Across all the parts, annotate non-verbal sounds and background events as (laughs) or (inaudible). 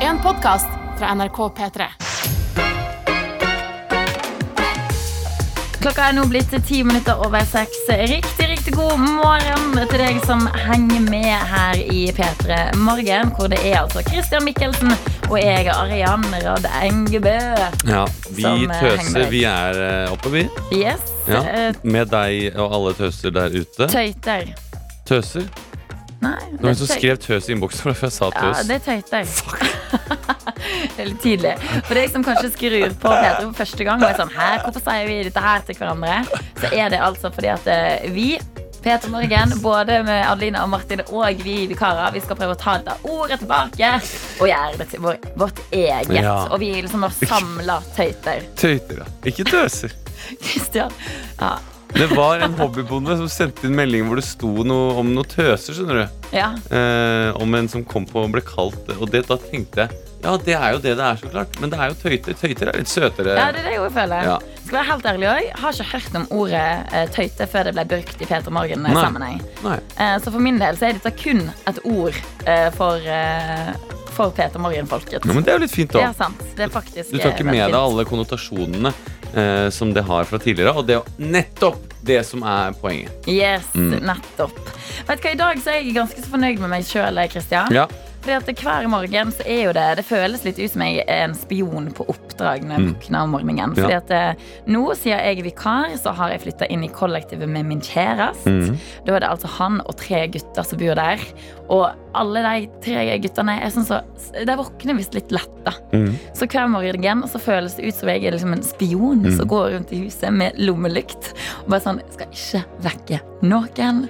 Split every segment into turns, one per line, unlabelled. en podkast fra NRK P3.
Klokka er nå blitt ti minutter over seks. Riktig riktig god morgen til deg som henger med her i P3 Morgen, hvor det er altså Christian Mikkelsen og jeg, Arian Radd Engebø.
Ja, vi
Som, eh, henger
tøser,
med.
vi er eh, oppe, vi.
Yes.
Ja.
eh,
Med deg og alle tøser der ute.
Tøyter.
Tøser?
Nei,
Det var en som
tøy-
skrev tøs i innboksen (laughs) for jeg sa
Ja,
tøs.
det er tøyter. (laughs) det er litt tidlig. For deg som kanskje skrur på P3 for første gang og er sånn Hæ, hvorfor sier vi dette her til hverandre? Så er det altså fordi at eh, vi Peter Morgen, både med Adelina og Martin og vi vikarer, vi skal prøve å ta litt av ordet tilbake og gjøre det til vår, vårt eget.
Ja.
Og vi liksom har samla tøyter.
Tøyter, ja. Ikke tøser.
Christian. Ja.
Det var en hobbybonde som sendte inn melding hvor det sto noe om noe tøser, skjønner du.
ja.
Eh, om en som kom på og ble kalt Og det, da tenkte jeg ja, det er jo det det er, så klart. Men det er jo tøyter. Tøyter er litt søtere.
Ja, det er det jeg også føler.
Ja.
Skal være helt ærlig også, Har ikke hørt om ordet eh, tøyte før det ble brukt i Peter Morgen-sammenheng.
Nei.
Eh, Så for min del så er dette kun et ord eh, for, eh, for Peter Morgen-folket.
Ja, men det er jo litt fint,
det
da.
er sant. Det er faktisk
Du tar ikke
eh,
med
veldig
deg alle konnotasjonene eh, som det har fra tidligere. Og det er jo nettopp det som er poenget.
fint. Yes,
Mm.
nettopp. Vet du hva, I dag så er jeg ganske så fornøyd med meg sjøl, Kristian.
Ja.
Fordi at Hver morgen så er jo det Det føles litt ut som jeg er en spion på oppdrag når jeg våkner om morgenen. Fordi
Ja.
at eh, nå, siden jeg er vikar, så har jeg flytta inn i kollektivet med min kjæreste. Da er det altså han og tre gutter som bor der. Og alle de tre guttene er sånn så De våkner visst litt letta.
Mm.
Så hver morgen så føles det ut som jeg er liksom en spion som går rundt i huset med lommelykt. Og bare sånn Skal ikke vekke noen.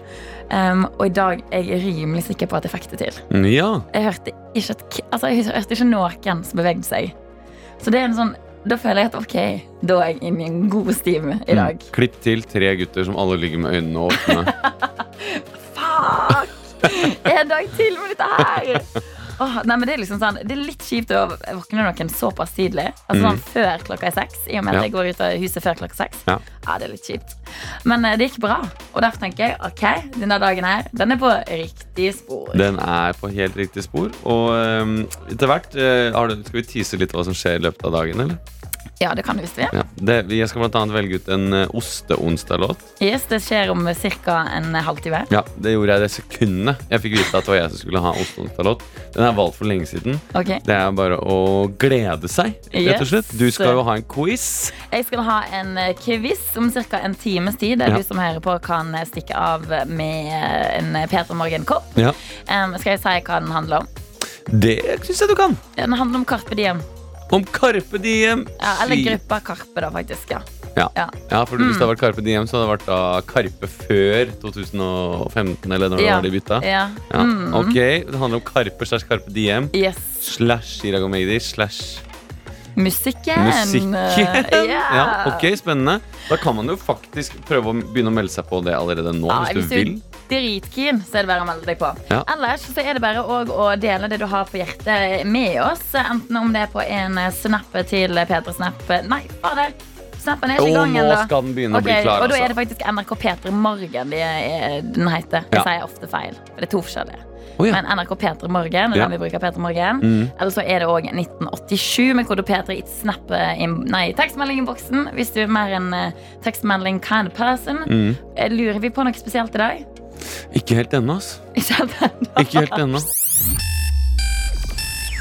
Um, og i dag er jeg rimelig sikker på at jeg fikk det til.
ja.
Jeg hørte ikke, et, k- altså jeg hørte ikke noen som bevegde seg. Så det er en sånn, da føler jeg at ok, da er jeg inne i en god stim i
Mm.
dag.
Klipp til tre gutter som alle ligger med øynene åpne.
Fuck! En dag til med dette her! Åh, nei, men det, er liksom sånn, det er litt kjipt å våkne noen såpass tidlig. Altså sånn Før klokka er seks. I og med at
Mm. Ja.
jeg går ut av huset før klokka seks.
Ja.
det er litt kjipt. Men eh, det gikk bra. Og derfor tenker jeg ok, denne dagen her, den er på riktig spor.
Den er på helt riktig spor. Og eh, etter hvert eh, har du, Skal vi tease litt hva som skjer i løpet av dagen, eller?
Ja, det kan du visst vi.
Ja. Det, jeg skal blant annet velge ut en eh, osteonsdag-låt.
Yes, det skjer om ca. en halvtime.
Ja, Det gjorde jeg det sekundet jeg fikk vite at det var jeg som skulle ha osteonsdag-låt. Den er valgt for lenge siden.
Ok.
Det er bare å glede seg, rett og
Yes.
slett. Du skal jo ha en quiz.
Jeg skal ha en eh, quiz om ca. en times tid. Der
Ja.
du som hører på kan eh, stikke av med eh, en Peter Morgen-kopp.
Ja.
Em, skal jeg si hva den handler om?
Det syns jeg du kan.
Den handler om Carpe Diem.
Om Carpe Diem.
Ja, eller
Si-
gruppa Karpe, da, faktisk. Ja.
Ja.
Ja.
ja, for hvis det
Mm.
hadde vært Carpe Diem, så hadde det vært da Karpe før 2015, eller når det
Ja.
var de bytta.
Ja.
Ja.
Mm.
Ok, det handler om Karpe slash Carpe Diem
Yes.
slash Chirag og Magdi slash
Musikken. (laughs)
musikken. (laughs)
eh,
Ja, ok, spennende. Da kan man jo faktisk prøve å begynne å melde seg på det allerede nå,
Ja,
hvis du vil.
er dritkeen, så er det bare å melde deg på.
Ja.
Ellers så er det bare å- å dele det du har på hjertet med oss. Enten om det er på en eh, snap til Peter Snap Nei, fader! Snappen er ikke i
Og
gang
nå
ennå.
skal den begynne
Ok,
å bli klar.
Og da er det
Altså.
faktisk NRK P3 Morgen de er, den heter. Jeg
Ja.
sier ofte feil. For det er to forskjellige.
Å, ja.
Men NRK P3 Morgen, det er
Ja. Mm.
den vi bruker P3 Morgen. Eller så er det òg 1987 med kode P3 i snap in- Nei, tekstmeldingboksen. Hvis du er mer en eh, tekstmelding kind of person.
Mm.
Eh, Lurer vi på noe spesielt i dag? (laughs)
Ikke helt ennå, altså.
Ikke sant? (laughs)
Ikke helt ennå.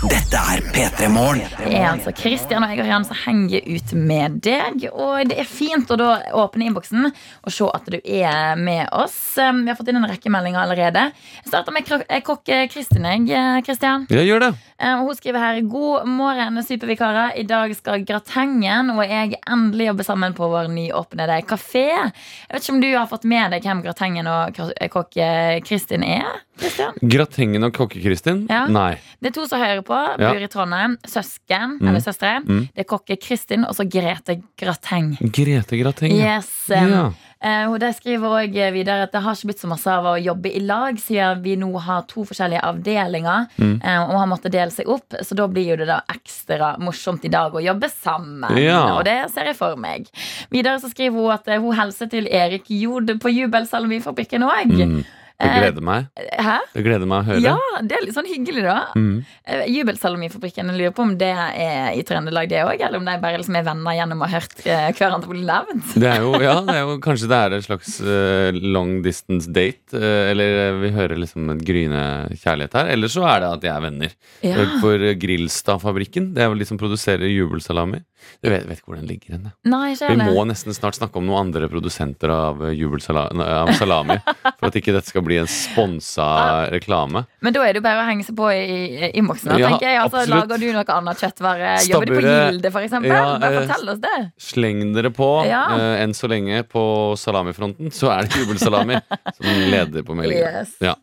Dette er P3 Morgen.
Det er altså Kristian og jeg og Jan som henger ut med deg. Og det er fint å da åpne innboksen og se at du er med oss. Um, Vi har fått inn en rekke meldinger allerede. Jeg starter med kro- eh, kokk eh, Kristin. jeg, eh, Kristian.
Ja, gjør det.
Eh, og Hun skriver her God morgen, supervikarer. I dag skal Gratengen og jeg endelig jobbe sammen på vår nyåpnede kafé. Jeg vet ikke om du har fått med deg hvem Gratengen og kro- eh, kokk eh, Kristin er? Kristian?
Gratengen og Kokke-Kristin?
Ja.
Nei.
Det er to som hører på,
Ja. Mm.
bor i Trondheim. Søsken, eller søstre. Det er kokke Kristin, og så Grete Grateng.
Grete Grateng. ja.
Yes. em,
Ja.
eh, og de skriver også videre at det har ikke blitt så masse av å jobbe i lag, siden vi nå har to forskjellige avdelinger
Mm.
eh, og har måttet dele seg opp. Så da blir jo det da ekstra morsomt i dag å jobbe sammen.
Ja.
Og det ser jeg for meg.
Mm.
Videre så skriver hun at eh, hun hilser til Erik Jod på jubelsalmifabrikken òg.
Det gleder meg
Eh, Hæ?
Det gleder meg å høre.
Ja, det er litt sånn hyggelig, da.
Mm.
Eh, Jubelsalamifabrikken, jeg lurer på om det er i Trøndelag, det òg? Eller om de bare liksom er venner gjennom å ha hørt eh, hverandre bli nevnt?
Det er jo, ja, det er jo, kanskje det er en slags eh, long distance date. eh, eller eh, vi hører liksom en gryende kjærlighet her. Eller så er det at de er venner.
Ja.
Eh, For eh, Grilstad-fabrikken, det er vel de som produserer jubelsalami. Jeg vet, vet ikke hvor den ligger hen. jeg.
Nei, ikke
Vi må
heller.
nesten snart snakke om noen andre produsenter av, eh, jubelsala- nei, av salami. For at ikke dette skal bli en sponsa reklame.
Men da er det jo bare å henge seg på i i innboksen. da,
Ja,
tenker jeg. Altså,
absolutt.
lager du noe annet kjøttvare? Jobber du på
Stabburet.
Gilde, for eksempel?
Ja,
bare
eh,
fortell oss det.
Sleng dere på.
Ja.
eh, enn så lenge på salamifronten, så er det jubelsalami som leder på meldingen.
Yes.
Ja.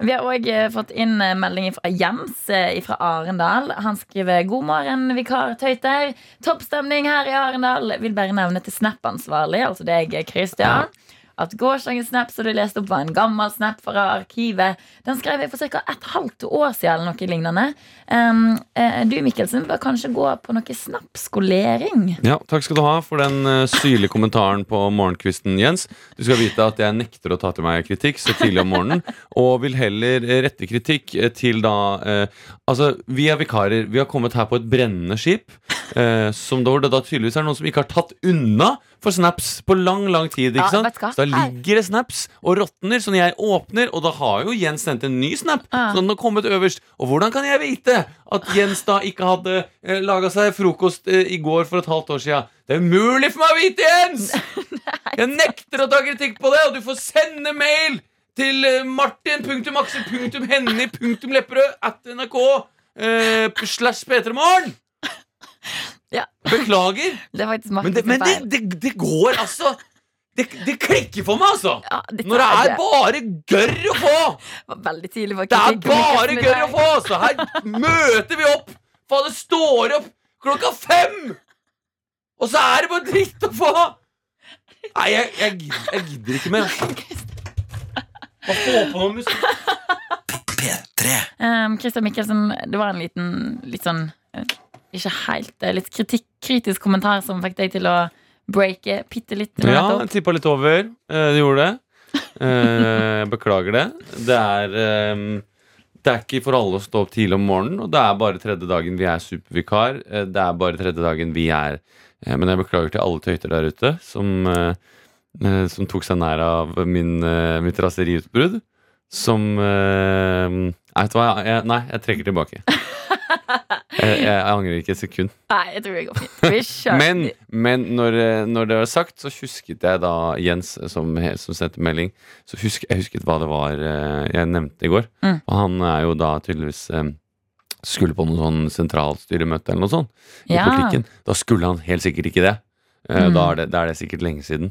Vi har òg fått inn eh, melding fra Jens eh, fra Arendal. Han skriver 'God morgen, vikar Tøyter'. Toppstemning her i Arendal. Vil bare nevne til Snap-ansvarlig, altså deg, Christian. At gårsdagens snap som du leste opp, var en gammel snap fra arkivet. Den skrev jeg for ca. et halvt år siden, eller noe lignende. Um, eh, du, Mikkelsen, bør kanskje gå på noe snapskolering.
Ja, Takk skal du ha for den eh, syrlige kommentaren på morgenkvisten, Jens. Du skal vite at jeg nekter å ta til meg kritikk så tidlig om morgenen, og vil heller eh, rette kritikk eh, til da eh, Altså, vi er vikarer. Vi har kommet her på et brennende skip, eh, som da, hvor det da tydeligvis er noen som ikke har tatt unna for snaps på lang, lang tid.
Ja,
ikke sant?
vet du hva?
Så da
Her.
ligger det snaps og råtner, så når jeg åpner, og da har jo Jens sendt en ny snap,
Ja.
så den har kommet øverst. Og hvordan kan jeg vite at Jens da ikke hadde eh, laga seg frokost eh, i går for et halvt år sia? Det er umulig for meg å vite, Jens!
(laughs)
Jeg nekter å ta kritikk på det, og du får sende mail til eh, martin.akse.henny.lepperød at nrk eh, slash p3morgen.
Ja.
Beklager,
Det er faktisk
men,
Martin
det,
sin
men det,
feil.
det, det går altså Det, det klikker for meg, altså!
Ja, dette
Når det
er
er bare gørr å få!
var veldig tidlig for
Det er
kritikk,
bare
Mikkelsen, i
gørr å
dag.
få! Så her møter vi opp! Faen, det står opp klokka fem! Og så er det bare dritt å få! Nei, jeg, jeg, gid- jeg gidder ikke mer. altså. Bare få på noe musikk.
P3.
Um, Christian Mikkelsen, det var en liten litt sånn eh, Ikke helt, eh, litt kritikk, kritisk kommentar som fikk deg til å breake bitte litt.
Ja, jeg tippa litt over. Eh, Det gjorde det. Eh, Jeg beklager det. Det er ehm, Det er ikke for alle å stå opp tidlig om morgenen, og det er bare tredje dagen vi er supervikar. Eh, Det er bare tredje dagen vi er eh, Men jeg beklager til alle tøyter der ute som, eh, eh, som tok seg nær av min, eh, mitt raseriutbrudd. Som eh, Nei, vet du hva? Jeg, nei, jeg trekker tilbake. Jeg, jeg angrer ikke et sekund.
Nei, jeg tror det går fint. Vi kjører.
Men, men når, eh, når det var sagt, så husket jeg da Jens, eh, som, he- som sendte melding Så husk, Jeg husket hva det var eh, jeg nevnte i går.
Mm.
Og han er jo da tydeligvis eh, skulle på noe sånn sentralstyremøte eller noe sånt. I
ja,
politikken. Da skulle han helt sikkert ikke det. Eh,
Mm.
Da, er det, da er det sikkert lenge siden.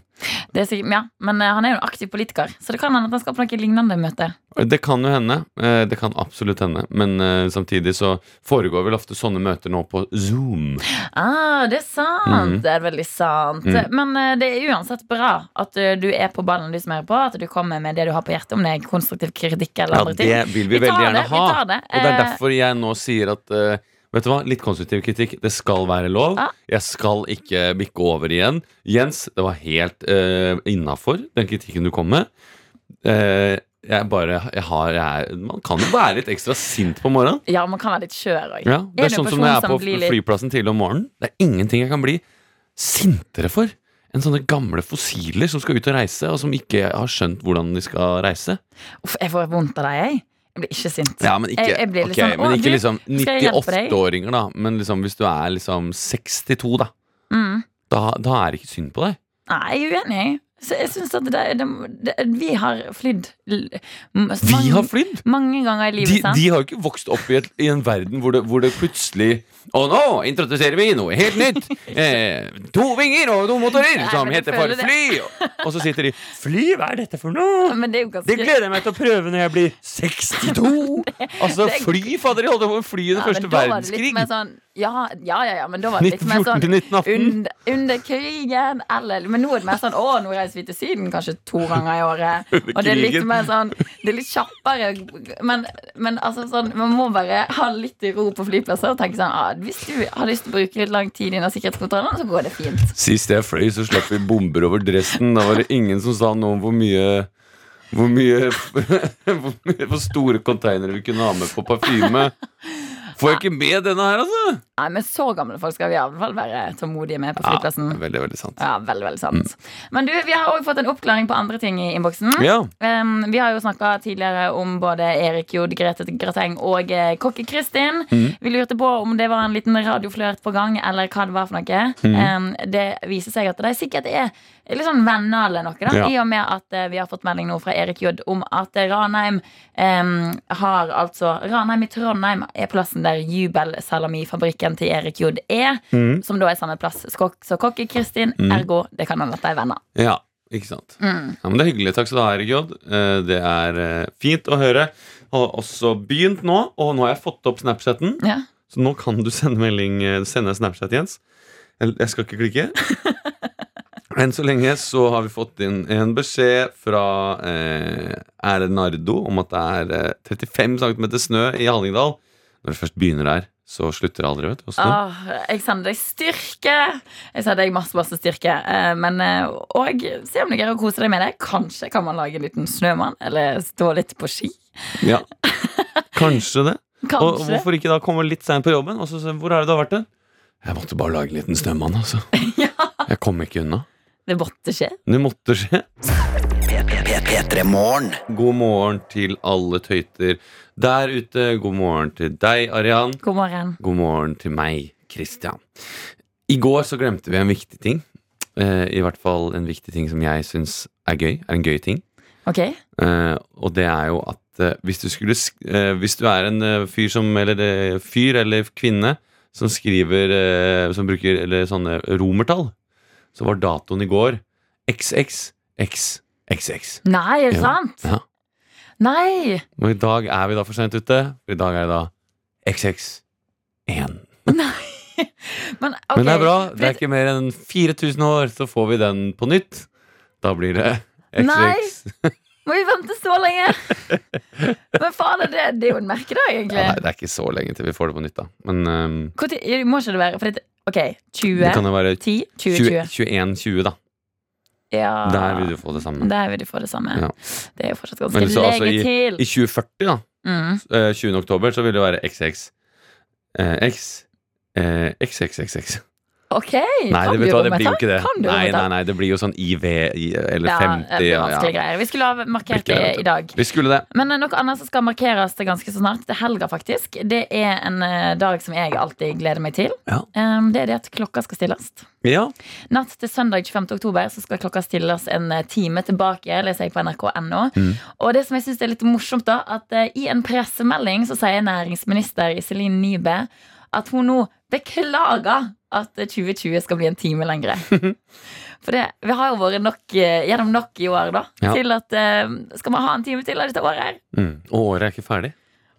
det er sikkert, ja, men eh, han er jo en aktiv politiker, så det kan hende at han skal på noe lignende møte.
Det kan jo hende. eh, Det kan absolutt hende. Men eh, samtidig så foregår vel ofte sånne møter nå på Zoom.
Ah, det er sant!
Mhm.
Det er veldig sant.
Mm.
Men eh, det er uansett bra at eh, du er på ballen, du som hører på. At du kommer med det du har på hjertet, om det er konstruktiv kritikk eller
Ja,
andre ting.
det vil vi,
Vi tar
veldig gjerne
det, vi
ha.
tar det.
Og det er
Eh,
derfor jeg nå sier at eh, Vet du hva, Litt konstruktiv kritikk. Det skal være lov.
Ja.
Jeg skal ikke bikke over igjen. Jens, det var helt uh, innafor, den kritikken du kom med. Eh, jeg bare jeg har, jeg, er- Man kan jo være litt ekstra sint på morgenen.
Eh, Ja, man kan være litt skjør òg.
Ja, det er sånn som når jeg er på flyplassen tidlig om morgenen. Det er ingenting jeg kan bli sintere for enn sånne gamle fossiler som skal ut og reise, og som ikke har skjønt hvordan de skal reise.
Uff, jeg får vondt av deg, jeg. Jeg blir ikke sint.
Ja, men ikke,
Jeg- jeg blir litt
ok,
sånn,
men
«Å,
ikke
du,
liksom
skal jeg hjelpe deg?»
98-åringer, da. Men liksom, hvis du er liksom 62, da.
Mm.
Da, da er det ikke synd på deg.
Nei, jeg er uenig. Så jeg synes at det, det, det, vi har flydd l- m-
Vi
mange-
har flydd!
Mange ganger i
De,
livet, sant?
de har jo ikke vokst opp i, et, i en verden hvor det, hvor det plutselig Å, nå introduserer vi noe helt
(laughs)
nytt! Eh, to vinger og to motorer
Nei,
som
men jeg
heter for
føler det.
fly! Og så sitter de Fly, hva er dette for noe?
Men det er jo
Det
ganske
gleder jeg meg til å prøve når jeg blir 62!
(laughs)
Altså,
det er-
fly, fader, de holdt på med fly i
Ja,
den
men
første
da var det litt
verdenskrig!
mer Sånn, ja, ja, ja, ja, men da var det litt mer
1914
sånn
til 1918.
under, under krigen, eller Men nå er det mer sånn Å, nå reiser vi til Syden kanskje to ganger i året.
(laughs) Under
Og det er litt
krigen.
mer sånn Det er litt kjappere. Men, men altså sånn man må bare ha litt ro på flyplasser og tenke sånn ah, Hvis du har lyst til å bruke litt lang tid under sikkerhetskontrollen, så går det fint.
Sist jeg fløy, så slapp vi bomber over Dresden. Da var det ingen som sa noe om hvor mye Hvor mye (laughs) Hvor mye hvor store containere vi kunne ha med på parfyme. Får jeg ikke med denne her, altså?
Nei, men så gamle folk skal vi i alle fall være tålmodige med på flyplassen.
Ja, veldig, veldig sant.
Ja, veldig, veldig sant. Men du, vi har òg fått en oppklaring på andre ting i innboksen.
Ja.
Em, vi har jo snakka tidligere om både Erik Jod, Grete Grateng og eh, Kokke-Kristin. Vi lurte på om det var en liten radioflørt på gang, eller hva det var for noe. Em, det viser seg at de sikkert er litt sånn venner eller noe, da,
Ja.
i og med at eh, vi har fått melding nå fra Erik Jod om at eh, Ranheim em, har altså Ranheim i Trondheim er plassen der Jubel-salamifabrikken til Erik Jod er, som da er samme plass skok- som Kokke-Kristin. Ergo, det kan hende at de er venner.
ja. Ikke sant.
Mm.
Ja, men Det er hyggelig. Takk skal du ha, Erik J. Eh, Det er eh, fint å høre. Har også begynt nå, og nå har jeg fått opp Snapchatten.
Ja.
Så nå kan du sende melding eh, Sende en Snapchat, Jens Eller, Jeg skal ikke
(laughs)
klikke Enn så lenge så har vi fått inn en beskjed Fra eh, Erle Nardo Om at det er eh, 35 cm snø i Hallingdal Når det først begynner der Så slutter det aldri, vet du å snø.
Åh, jeg sender deg styrke. Jeg sender deg masse, masse styrke. Eh, Men eh, og se om du greier å kose deg med det. Kanskje kan man lage en liten snømann, eller stå litt på ski.
ja. (laughs) Kanskje det og, og
Kanskje.
hvorfor ikke da komme litt sent på jobben Og så se, hvor er det du har vært den? Jeg måtte bare lage en liten snømann, altså
(laughs) Ja.
Jeg kom ikke unna
Det måtte skje.
Det måtte skje
P3morgen.
God morgen til alle tøyter der ute. God morgen til deg, Arian.
God morgen.
God morgen til meg, Christian. I går så glemte vi en viktig ting. Eh, I hvert fall en viktig ting som jeg syns er gøy. Er en gøy ting.
Ok?
Eh, og det er jo at eh, hvis du skulle sk eh, Hvis du er en eh, fyr som Eller eh, fyr eller kvinne som skriver eh, Som bruker eller sånne romertall, så var datoen i går XXXXX.
Nei, er det
Ja.
sant?
Ja.
Nei!
Og i dag er vi da for sent ute. For i dag er det da XX1.
Men, ok,
Men det er bra.
for
Det er
at-
ikke mer enn 4000 år, så får vi den på nytt. Da blir det
Nei.
XX. Nei,
Må vi vente så lenge?
(laughs)
Men faen, det, det er jo en merkedag, egentlig.
det er ikke så lenge til vi får det på nytt, da. Men um,
Hvor tid- må ikke det være? For det, ok,
det
20,
kan jo være
10, 20, 20.
21-20, da.
Ja.
Der vil du få det samme.
Der vil du få Ah. det samme.
Ja.
Det er jo fortsatt
Men
ganske
så altså
lenge til.
I 2040, da.
mm.
eh, 20. oktober, så vil det være XX. Eh, X. Eh, XXXX.
Ok,
Nei,
kan
det,
du
vet du hva, det blir jo
romertall?
ikke det.
Kan du
Nei,
romertall?
nei, nei, det blir jo sånn IV i- eller
Ja,
50.
det blir
Ja, ja.
vanskelige greier. Vi skulle ha markert
Ikke
det
det, vet
i dag.
Vi skulle det.
Men eh, noe annet som skal markeres det ganske så snart, det er helga, faktisk. Det er en eh, dag som jeg alltid gleder meg til.
Ja.
Em, det er det at klokka skal stilles.
Ja.
Natt til søndag 25. oktober så skal klokka stilles en eh, time tilbake, leser jeg på nrk.no.
Mm.
Og det som jeg synes er litt morsomt, da, at eh, i en pressemelding så sier næringsminister Iselin Nybø at hun nå beklager at eh, 2020 skal bli en time lengre.
(laughs)
For det, vi har jo vært nok, eh, gjennom nok i år, da,
Ja.
til at eh, Skal vi ha en time til av dette året? her?
Mm. Og året er ikke ferdig.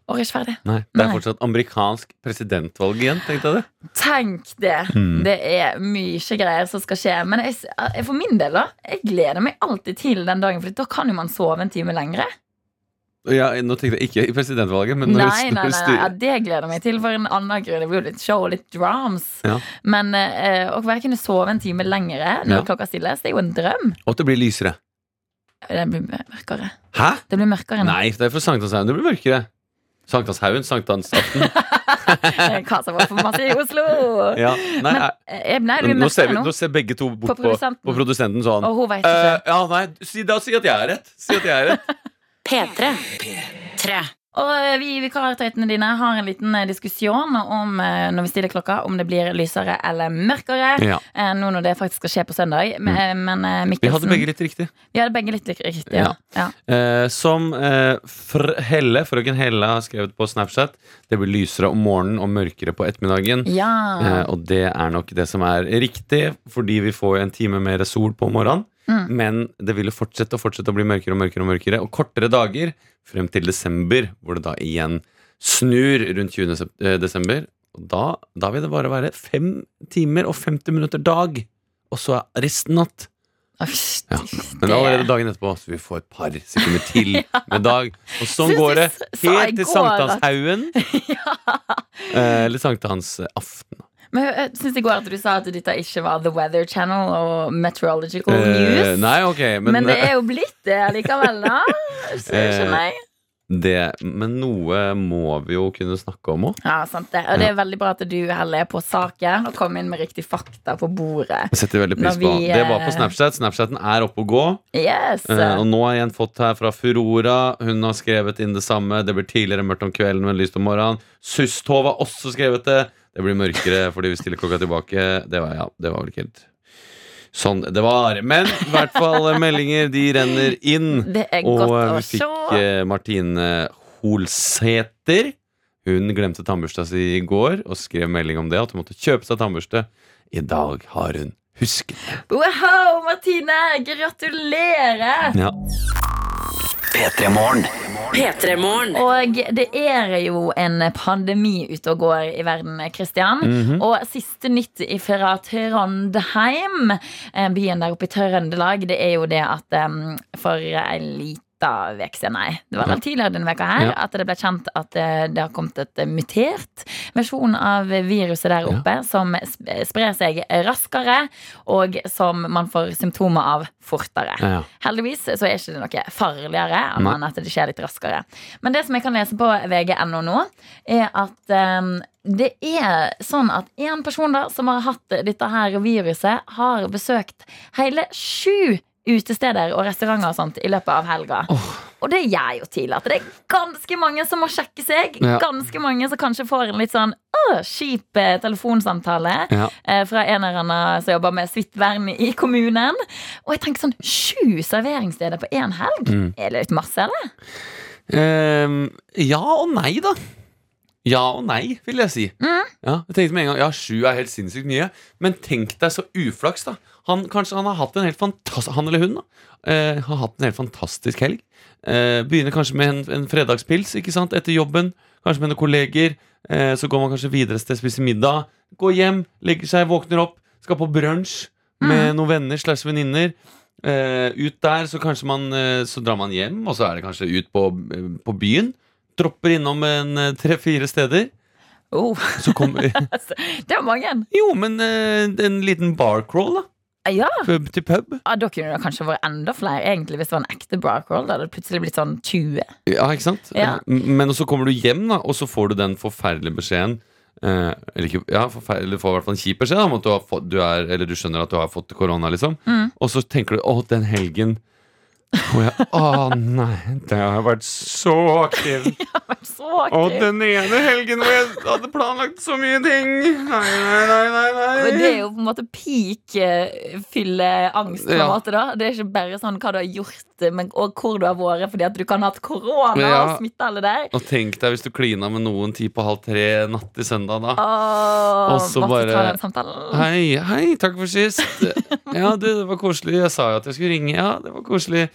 Året er ikke ferdig.
Nei, Det er
Nei.
fortsatt amerikansk presidentvalg igjen, tenkte jeg det.
Tenk det!
Mm.
Det er mye greier som skal skje. Men jeg, s- for min del, da, jeg gleder meg alltid til den dagen, for da kan jo man sove en time lengre.
Ja, nå tenkte jeg ikke i presidentvalget, men når
Nei, nei, nei,
du, når du
nei, ja,
styrer
det gleder jeg meg til for en annen grunn. Det blir jo litt show og litt drums.
Ja.
Men eh, å være kunne sove en time lengre når
Ja.
klokka stilles, det er jo en drøm.
Og at det blir lysere.
Det blir mørkere.
Hæ?
Det blir mørkere enn
Nei, det er fra Sankthanshaugen. Det blir mørkere. Sankthanshaugen, sankthansaften.
(laughs) hva som var for masse i Oslo.
(laughs) Ja. Nei,
Men,
nei.
eh, nei, det blir
Nå,
mørkere
ser vi,
nå.
nå ser begge to bort
På
på,
produsenten.
på produsenten sånn.
Og hun vet
Eh,
ikke.
ja, nei, si, da si at jeg er rett. Si at jeg
(laughs)
er rett.
P3. 3.
Og eh, vi i vikartøytene dine har en liten eh, diskusjon om eh, når vi stiller klokka, om det blir lysere eller mørkere.
Ja. Mm.
Eh, Nå når det faktisk skal skje på søndag. Men, eh, men eh,
Vi hadde
Mikkelsen
begge litt riktig.
Vi hadde begge litt lik- riktig. Ja. Ja.
Eh, som eh, fr Helle, frøken Helle har skrevet på Snapchat, det blir lysere om morgenen og mørkere på ettermiddagen.
ja.
Eh, og det er nok det som er riktig, fordi vi får jo en time mer sol på morgenen.
Mm.
Men det vil jo fortsette og fortsette å bli mørkere og mørkere og mørkere Og kortere dager frem til desember, hvor det da igjen snur rundt 20. sep- eh, desember. Og da, da vil det bare være fem timer og 50 minutter dag, og så er resten natt.
Åh, sh-
Ja, Men
det-
allerede dagen etterpå så vi får et par sekunder
(laughs)
til med dag. Og sånn
Synes
går
du
det
s- sa i
helt til
går at- (laughs)
sankthanshaugen. Eh, Eller sankthansaften.
Men jeg syns i går at du sa at dette ikke var The Weather Channel og Meteorological News.
Eh, nei, ok, men, Eh.
men, det er jo blitt det likevel,
(laughs)
da. Så skjønner jeg.
det- men noe må vi jo kunne snakke om òg.
Ja, sant det. Og det er veldig bra at du heller er på saken og kom inn med riktig fakta på bordet.
Jeg setter veldig pris
Når
på
vi,
Det var på
eh,
Snapchat. Snapchaten er oppe og gå.
Yes.
Eh, og nå har jeg en fått her fra Furora. Hun har skrevet inn det samme. Det blir tidligere mørkt om kvelden, men lyst om morgenen. Sustov har også skrevet det. Det blir mørkere fordi vi stiller klokka tilbake. Det var, ja, det var vel ikke helt sånn det var. Men i hvert fall eh, meldinger, de renner inn.
Det er
Og
godt
eh,
å
vi
se.
fikk eh, Martine Holsæter. Hun glemte tannbørsta si i går og skrev melding om det, at hun måtte kjøpe seg tannbørste. I dag har hun husket.
Wow, Martine! Gratulerer! (laughs)
Ja.
P3 Morgen.
P3-morgen.
Og det er jo en pandemi ute og går i verden, Kristian.
Mhm.
Og siste nytt fra Trondheim, eh, byen der oppe i Trøndelag, det er jo det at em, for ei lita Vek siden, nei. Det var vel tidligere denne veka her
Ja.
at det ble kjent at eh, det har kommet et eh, mutert versjon av viruset der oppe som sp- sprer seg raskere, og som man får symptomer av fortere.
Ja, ja.
Heldigvis så er ikke det noe farligere
Nei.
enn at det skjer litt raskere. Men det som jeg kan lese på vg.no nå, er at eh, det er sånn at én person da, som har hatt dette her viruset, har besøkt hele sju utesteder og restauranter og sånt i løpet av helga. Og det gjør jo til at det er ganske mange som må sjekke seg.
Ja.
Ganske mange som kanskje får en litt sånn «Åh, kjip eh, telefonsamtale
Ja.
eh, fra en eller annen som jobber med smittevern i kommunen. Og jeg tenker sånn, sju serveringssteder på én helg?
Mm.
Er det litt masse, eller?
Ehm, ja og nei, da. Ja og nei, vil jeg si. Ja, jeg tenkte med en gang, ja, Sju er helt sinnssykt mye, men tenk deg så uflaks, da. Han, kanskje han har hatt en helt fantastisk Han eller hun da eh, har hatt en helt fantastisk helg. Eh, begynner kanskje med en, en fredagspils ikke sant, etter jobben. Kanskje med noen kolleger. Eh, så går man kanskje videre et sted, spiser middag. Går hjem, legger seg, våkner opp. Skal på brunsj med noen venner slash venninner. Eh, ut der, så kanskje man eh, Så drar man hjem, og så er det kanskje ut på, eh, på byen. Dropper innom en eh, tre-fire steder.
(laughs) Oh,
Så kommer
Altså, det var mange.
Jo, men eh, en liten barcrawl, da.
Ja,
Pub til pub.
ja Da kunne det kanskje vært enda flere egentlig hvis det var en ekte barcrawl. Da hadde det plutselig blitt sånn 20.
Ja, ikke sant?
Ja.
M- Men så kommer du hjem, da, og så får du den forferdelige beskjeden. Eh, eller ikke, ja, forfer- eller du får i hvert fall en kjip beskjed da, om at du, har fått, du er, eller du skjønner at du har fått korona. liksom
Mm.
Og så tenker du 'Å, den helgen'. Og jeg, Å nei, det har jeg vært så aktiv.
(laughs) Så
Og
kult.
den ene helgen hvor jeg hadde planlagt så mye ting. Nei, nei, nei, nei, nei.
Men det er jo på en måte peak eh, fylleangst, på en
Ja.
måte. da Det er ikke bare sånn hva du har gjort, eh, men og hvor du har vært, fordi at du kan ha hatt korona
Ja.
og smitte alle der.
Og tenk deg hvis du klina med noen ti på halv tre natt til søndag, da.
Åh,
Og så
måtte
bare-
ta den samtalen.
Hei, hei, takk for sist. Ja, du, det var koselig. Jeg sa jo at jeg skulle ringe. Ja, det var koselig.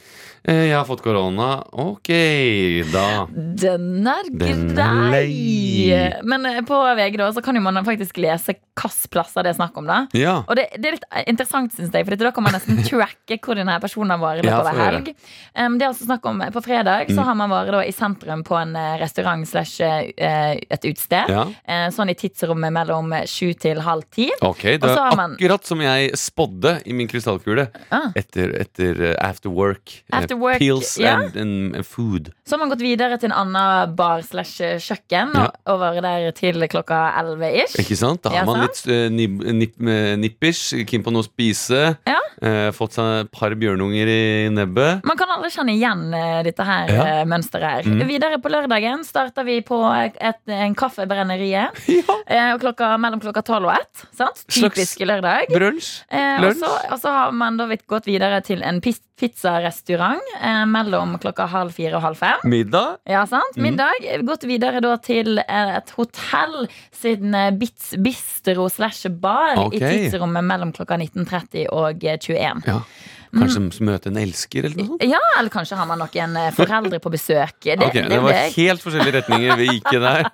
Eh, Jeg har fått korona. Ok, da.
Den er
Den er
grei!
lei.
Men eh, på VG da, så kan jo man faktisk lese hvilke plasser det er snakk om. da
Ja.
Og det, det er litt interessant, synes jeg, for da kan man
(laughs)
nesten tracke hvor denne personen har vært i
Ja,
løpet av
få
en
høre.
helg. Um, det er altså snakk om eh, På fredag
Mm.
så har man vært da, i sentrum på en eh, restaurant slash eh, et utested.
ja.
Eh, sånn i tidsrommet mellom eh, sju til halv ti.
Ok, det
Og så
er
har man-
akkurat som jeg spådde i min krystallkule
Ah.
etter, etter eh, after work. Eh,
After work,
Pills
ja.
and, and food.
Så har man gått videre til en annen bar slash eh, kjøkken
Ja.
og, og vært der til klokka elleve ish.
Ikke sant? Da har
Ja,
man litt eh, nib, nip, eh, nippers, keen på noe å spise.
Ja.
eh, fått seg et par bjørnunger i
(laughs)
nebbet.
Man kan alle kjenne igjen eh, dette her
Ja.
eh, mønsteret her.
Mm.
Videre på lørdagen starter vi på et, en kaffebrenneriet.
Ja,
Eh, og klokka, mellom klokka tolv og ett. Sant?
Slags-
Typisk lørdag.
Brunsj.
Eh, og,
lunsj.
så, og så har man da vidt gått videre til en pis- pizzarestaurant eh, mellom klokka halv fire og halv fem.
Middag.
Ja, sant?
Mm.
Middag. Gått videre da til eh, et hotell sin eh, Bits bistro slash bar
Ok.
i tidsrommet mellom klokka 19.30 og eh, 21.
Ja. Kanskje
Mm.
møte en elsker, eller noe sånt.
Ja, eller kanskje har man noen eh, foreldre på besøk. Eh, Det,
Ok,
det,
det
er
var
det jeg-
helt forskjellige retninger vi gikk i
(laughs)
der.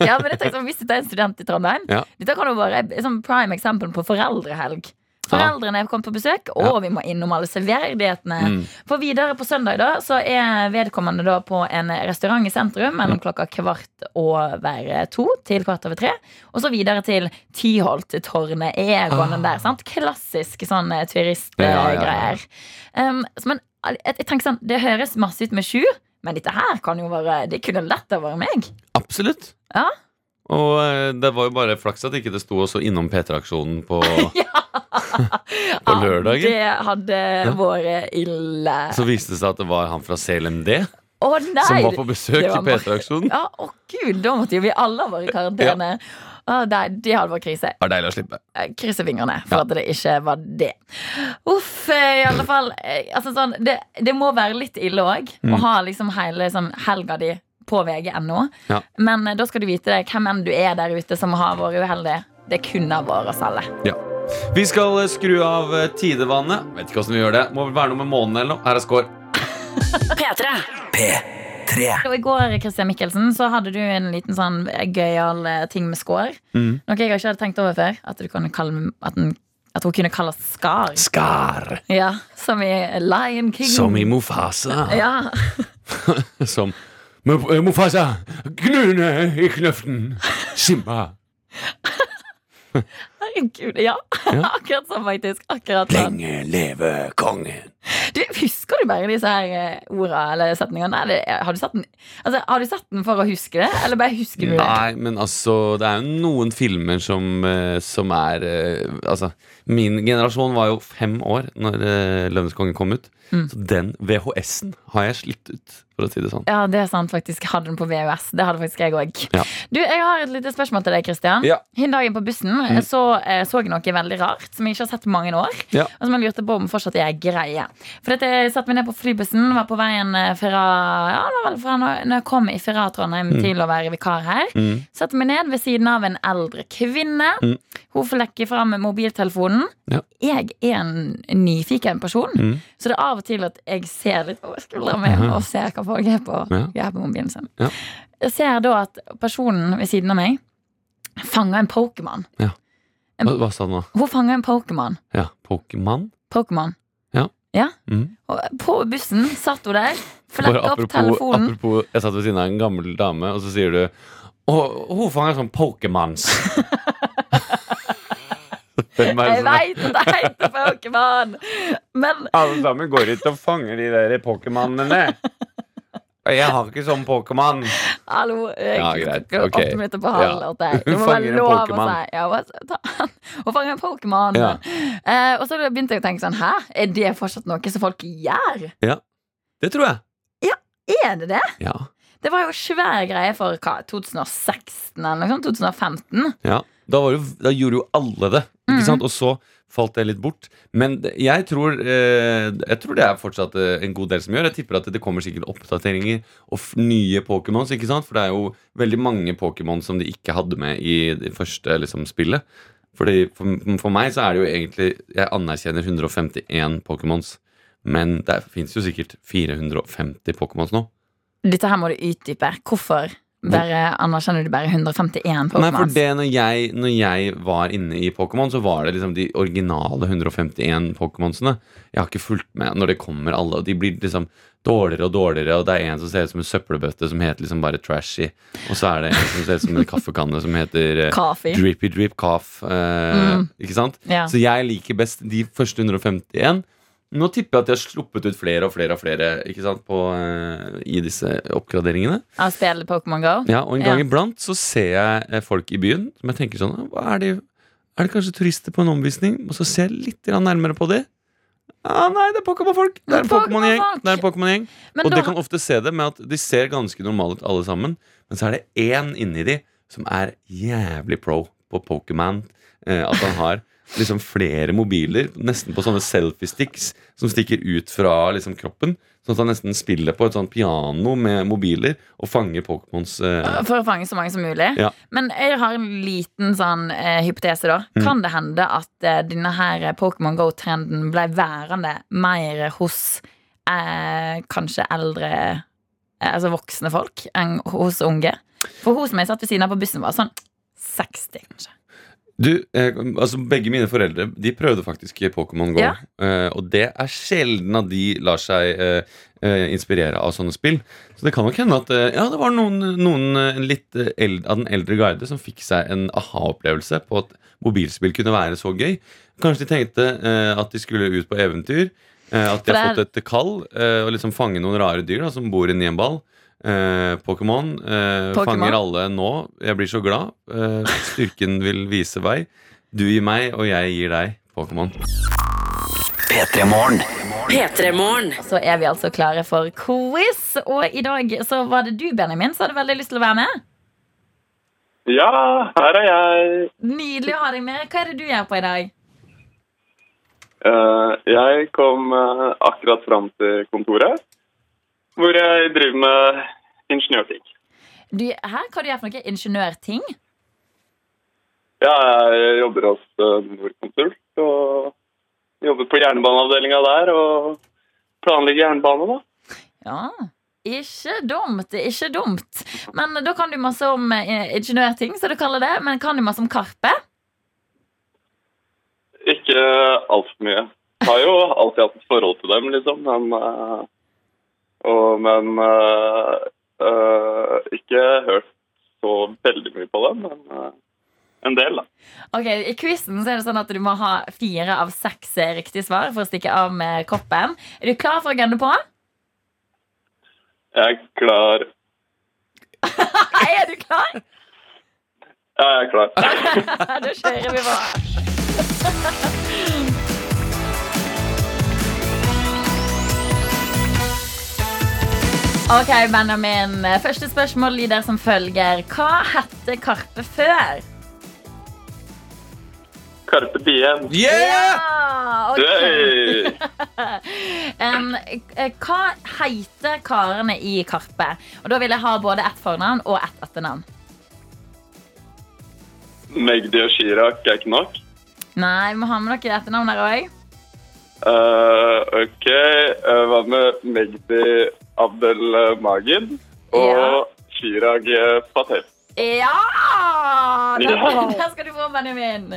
ja, men jeg tenkte, sånn, Hvis dette er en student i Trondheim
Ja.
Dette kan jo være et sånn prime eksempel på foreldrehelg. Foreldrene er kommet på besøk, og vi må innom alle
Mm.
serverdighetene. For videre på søndag da, så er vedkommende da på en restaurant i sentrum
Mm.
mellom klokka kvart over to til kvart over tre. Og så videre til Tyholttårnet, Egon den der. sant? Klassisk sånn eh,
Ah. Ja, ja, ja.
turistgreier. Um, så men al- jeg, jeg tenker sånn, Det høres masse ut med sju, men dette her kan jo være, det kunne lett ha vært meg.
Absolutt.
Ja.
Og eh, det var jo bare flaks at ikke det sto også innom P3-aksjonen på,
(laughs)
(laughs) på lørdagen.
Det hadde vært ille.
Så viste det seg at det var han fra CLMD
Å nei!
som var på besøk
det
i
var bare-
P3-aksjonen.
Ja, å gud, da måtte jo vi alle ha vært i karantene. Å, nei, det hadde vært krise.
Det var deilig å slippe.
Jeg krysser Eh, fingrene for at det ikke var det. Uff, eh, i alle fall. eh, Altså, sånn, det, det må være litt ille òg
Mm.
å ha liksom hele sånn, helga di på VG.no.
Ja.
Men eh, da skal du vite det, hvem enn du er der ute som har vært uheldig. Det kunne ha vært oss alle.
Ja. Vi skal eh, skru av eh, tidevannet. Vet ikke åssen vi gjør det. Må vel være noe med månen eller noe. Her er score.
P3.
P3
Og I går Christian Mikkelsen, så hadde du en liten sånn gøyal eh, ting med skår.
Mm.
Noe jeg ikke hadde tenkt over før. At, du kunne kalle, at, den, at hun kunne kalles Skar.
Skar.
Ja, Som i Lion King.
Som i Mofasa.
(laughs) Ja.
Som "Mo- eh, Mofasa, gnune i knøften, Simba.
Herregud, ja. (laughs) Akkurat sånn, faktisk. Akkurat sånn.
Lenge leve kongen
Du, husker du bare disse her eh, orda eller setningene? Eller, eh, har, du satt den, altså, har du satt den for å huske det, eller bare husker du det?
Nei, men altså Det er jo noen filmer som, eh, som er eh, Altså, min generasjon var jo fem år Når eh, Lønneskongen kom ut Så den VHS-en har jeg slitt ut For å si det sånn
Ja, det er sant, faktisk. Hadde den på VHS. Det hadde faktisk jeg òg.
Ja.
Du, jeg har et lite spørsmål til deg, Christian.
Ja. Mm.
Hin dagen på bussen så eh, så jeg noe veldig rart som jeg ikke har sett på mange år.
Ja.
Og som jeg lurte på om fortsatt er greie. For dette, jeg satte meg ned på flybussen, var på veien eh, fra Ja, det var vel fra når, når jeg kom fra Trondheim
Mm.
til å være vikar her. Satte meg ned ved siden av en eldre kvinne. Hun flekker fram mobiltelefonen.
Mm. Ja.
Jeg er en nyfiken person,
Mm.
så det er av og til at jeg ser litt over skuldra mi og ser hva folk er på.
Mhm. Ja.
Jeg er på mobilen sin.
Ja.
Jeg ser da at personen ved siden av meg fanger en Pokémon.
Hva, hva sa du nå?
Hun fanger en Pokémon.
Ja, Pokémon
Pokémon.
Ja. mm.
Og på bussen satt hun der,
Bare
flekka opp
apropos,
telefonen.
apropos Jeg satt ved siden av en gammel dame Og så sier du «Å, Hun fanger sånn Pokémons Hvem er det
Jeg
som er
veit at det heter Pokémon! Men
Alle sammen går ut og fanger de der Pokémonene. Og jeg har ikke sånn Pokémon.
hallo, eh,
Ja, greit.
klokka er
Ok.
åtte minutter på halv
Ja.
åtte. Det
(laughs) Hun
må
fanger
være
en
lov å si.
Pokémon.
Ja, hva sa- ta- (laughs) Hun fanger en Pokémon.
Ja.
Eh, og så begynte jeg å tenke sånn Hæ, er det fortsatt noe som folk gjør?
Det tror jeg.
Er det det?
Ja.
Det var jo svær greie for hva, 2016 eller noe sånt? 2015?
ja. Da, var jo, da gjorde jo alle det, ikke
Mhm.
sant? Og så falt det litt bort. Men det- jeg tror, eh, jeg tror det er fortsatt eh, en god del som gjør. Jeg tipper at det kommer sikkert oppdateringer og f nye Pokémons, ikke sant? For det er jo veldig mange Pokémon som de ikke hadde med i det første liksom, spillet. Fordi for, for meg så er det jo egentlig Jeg anerkjenner 151 Pokémons. Men det fins jo sikkert 450 Pokémons nå.
Dette her må du utdype. Hvorfor bare, anerkjenner du bare 151
Nei, for
Pokémons?
det når jeg, når jeg var inne i Pokémon, så var det liksom de originale 151 Pokémonsene. Jeg har ikke fulgt med når det kommer alle, og de blir liksom dårligere og dårligere, og det er en som ser ut som en søppelbøtte som heter liksom bare Trashy, og så er det en som ser ut som en kaffekanne som heter eh,
Kafi.
Drippy Drip Cough. eh,
Mm.
Ikke sant?
Ja.
Så jeg liker best de første 151. Nå tipper jeg at de har sluppet ut flere og flere og flere ikke sant, på, eh, i disse oppgraderingene.
Av spillet Pokémon Go?
Ja, Og en gang
Ja.
iblant så ser jeg eh, folk i byen som jeg tenker sånn "Hva er, de, er det kanskje turister på en omvisning? Og så ser jeg litt grann nærmere på de. Ah, nei, det er Pokémon-folk! Det er en Pokémon-gjeng! Det er en Pokémon-gjeng.
Men
Og
da,
det kan ofte se det med at de ser ganske normale ut alle sammen, men så er det én inni de som er jævlig pro på Pokémon. Eh, at han har liksom flere mobiler, nesten på sånne selfie-sticks, som stikker ut fra liksom kroppen. Sånn at han nesten spiller på et sånt piano med mobiler og fanger Pokémons eh,
For å fange så mange som mulig.
Ja.
Men jeg har en liten sånn eh, hypotese, da. Kan det hende at eh, denne her eh, Pokémon Go-trenden ble værende mer hos eh, kanskje eldre eh, Altså voksne folk enn hos unge? For hun som jeg satt ved siden av på bussen, var sånn 60, kanskje.
Du, eh, altså Begge mine foreldre de prøvde faktisk Pokémon GO.
Ja.
Eh, og det er sjelden at de lar seg eh, eh, inspirere av sånne spill. Så det kan nok hende at eh, ja, det var noen, noen eh, litt eh, eld, av den eldre guide som fikk seg en aha-opplevelse på at mobilspill kunne være så gøy. Kanskje de tenkte eh, at de skulle ut på eventyr. eh, at
For
de har
det er-
fått et kall eh, og liksom fange noen rare dyr da, som bor inni en ball. Eh, Pokémon eh,
Pokémon.
fanger alle nå. Jeg blir så glad. Eh, styrken vil vise vei. Du gir meg, og jeg gir deg Pokémon.
P3 Morgen.
P3-morgen.
Så er vi altså klare for quiz, og i dag så var det du, Benjamin, som hadde veldig lyst til å være med.
Ja, her er jeg.
Nydelig å ha deg med. Hva er det du gjør på i dag?
Eh, Jeg kom eh, akkurat fram til kontoret, hvor jeg driver med ingeniørting.
Du, her, hva du gjør for noe? Ingeniørting?
Ja, jeg jobber hos eh, Nordkonsult og jobber på jernbaneavdelinga der og planlegger jernbane, da.
Ja. Ikke dumt, det er ikke dumt. Men da kan du masse om eh, ingeniørting, som du kaller det. Men kan du masse om Karpe?
Ikke altfor mye. Har jo alltid hatt et forhold til dem, liksom, men eh, og, Men eh, eh, ikke hørt så veldig mye på dem, men eh, en del, da.
Ok, I quizen så er det sånn at du må ha fire av seks eh, riktige svar for å stikke av med koppen. Er du klar for å gunne på?
Jeg er klar.
Nei, er du klar?
Ja, jeg er klar.
da kjører vi på. Ok, Benjamin. Første spørsmål lyder som følger. Hva hette Karpe før?
Carpe diem.
Ja! ok.
Hey!
Em, eh, hva heter karene i Karpe? Og Da vil jeg ha både ett fornavn og ett etternavn.
Magdi og Chirag er ikke nok.
Nei, vi må ha med noe etternavn der òg.
Eh, ok, eh, hva med Magdi Abdel Magid og
Ja.
Chirag eh, Patel?
Ja! Den, (laughs)
Ja!
den skal du få, Benjamin.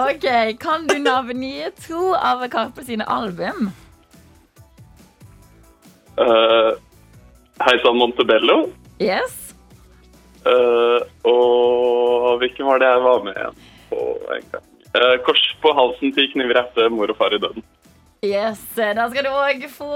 Ok, Kan du navngi to av Karpe sine album?
Uh, Heisan Montebello.
Yes?
eh, og hvilken var det jeg var med igjen på en gang? Eh, kors på halsen, ti kniver i hjertet, mor og far i døden.
Yes, Den skal du òg få.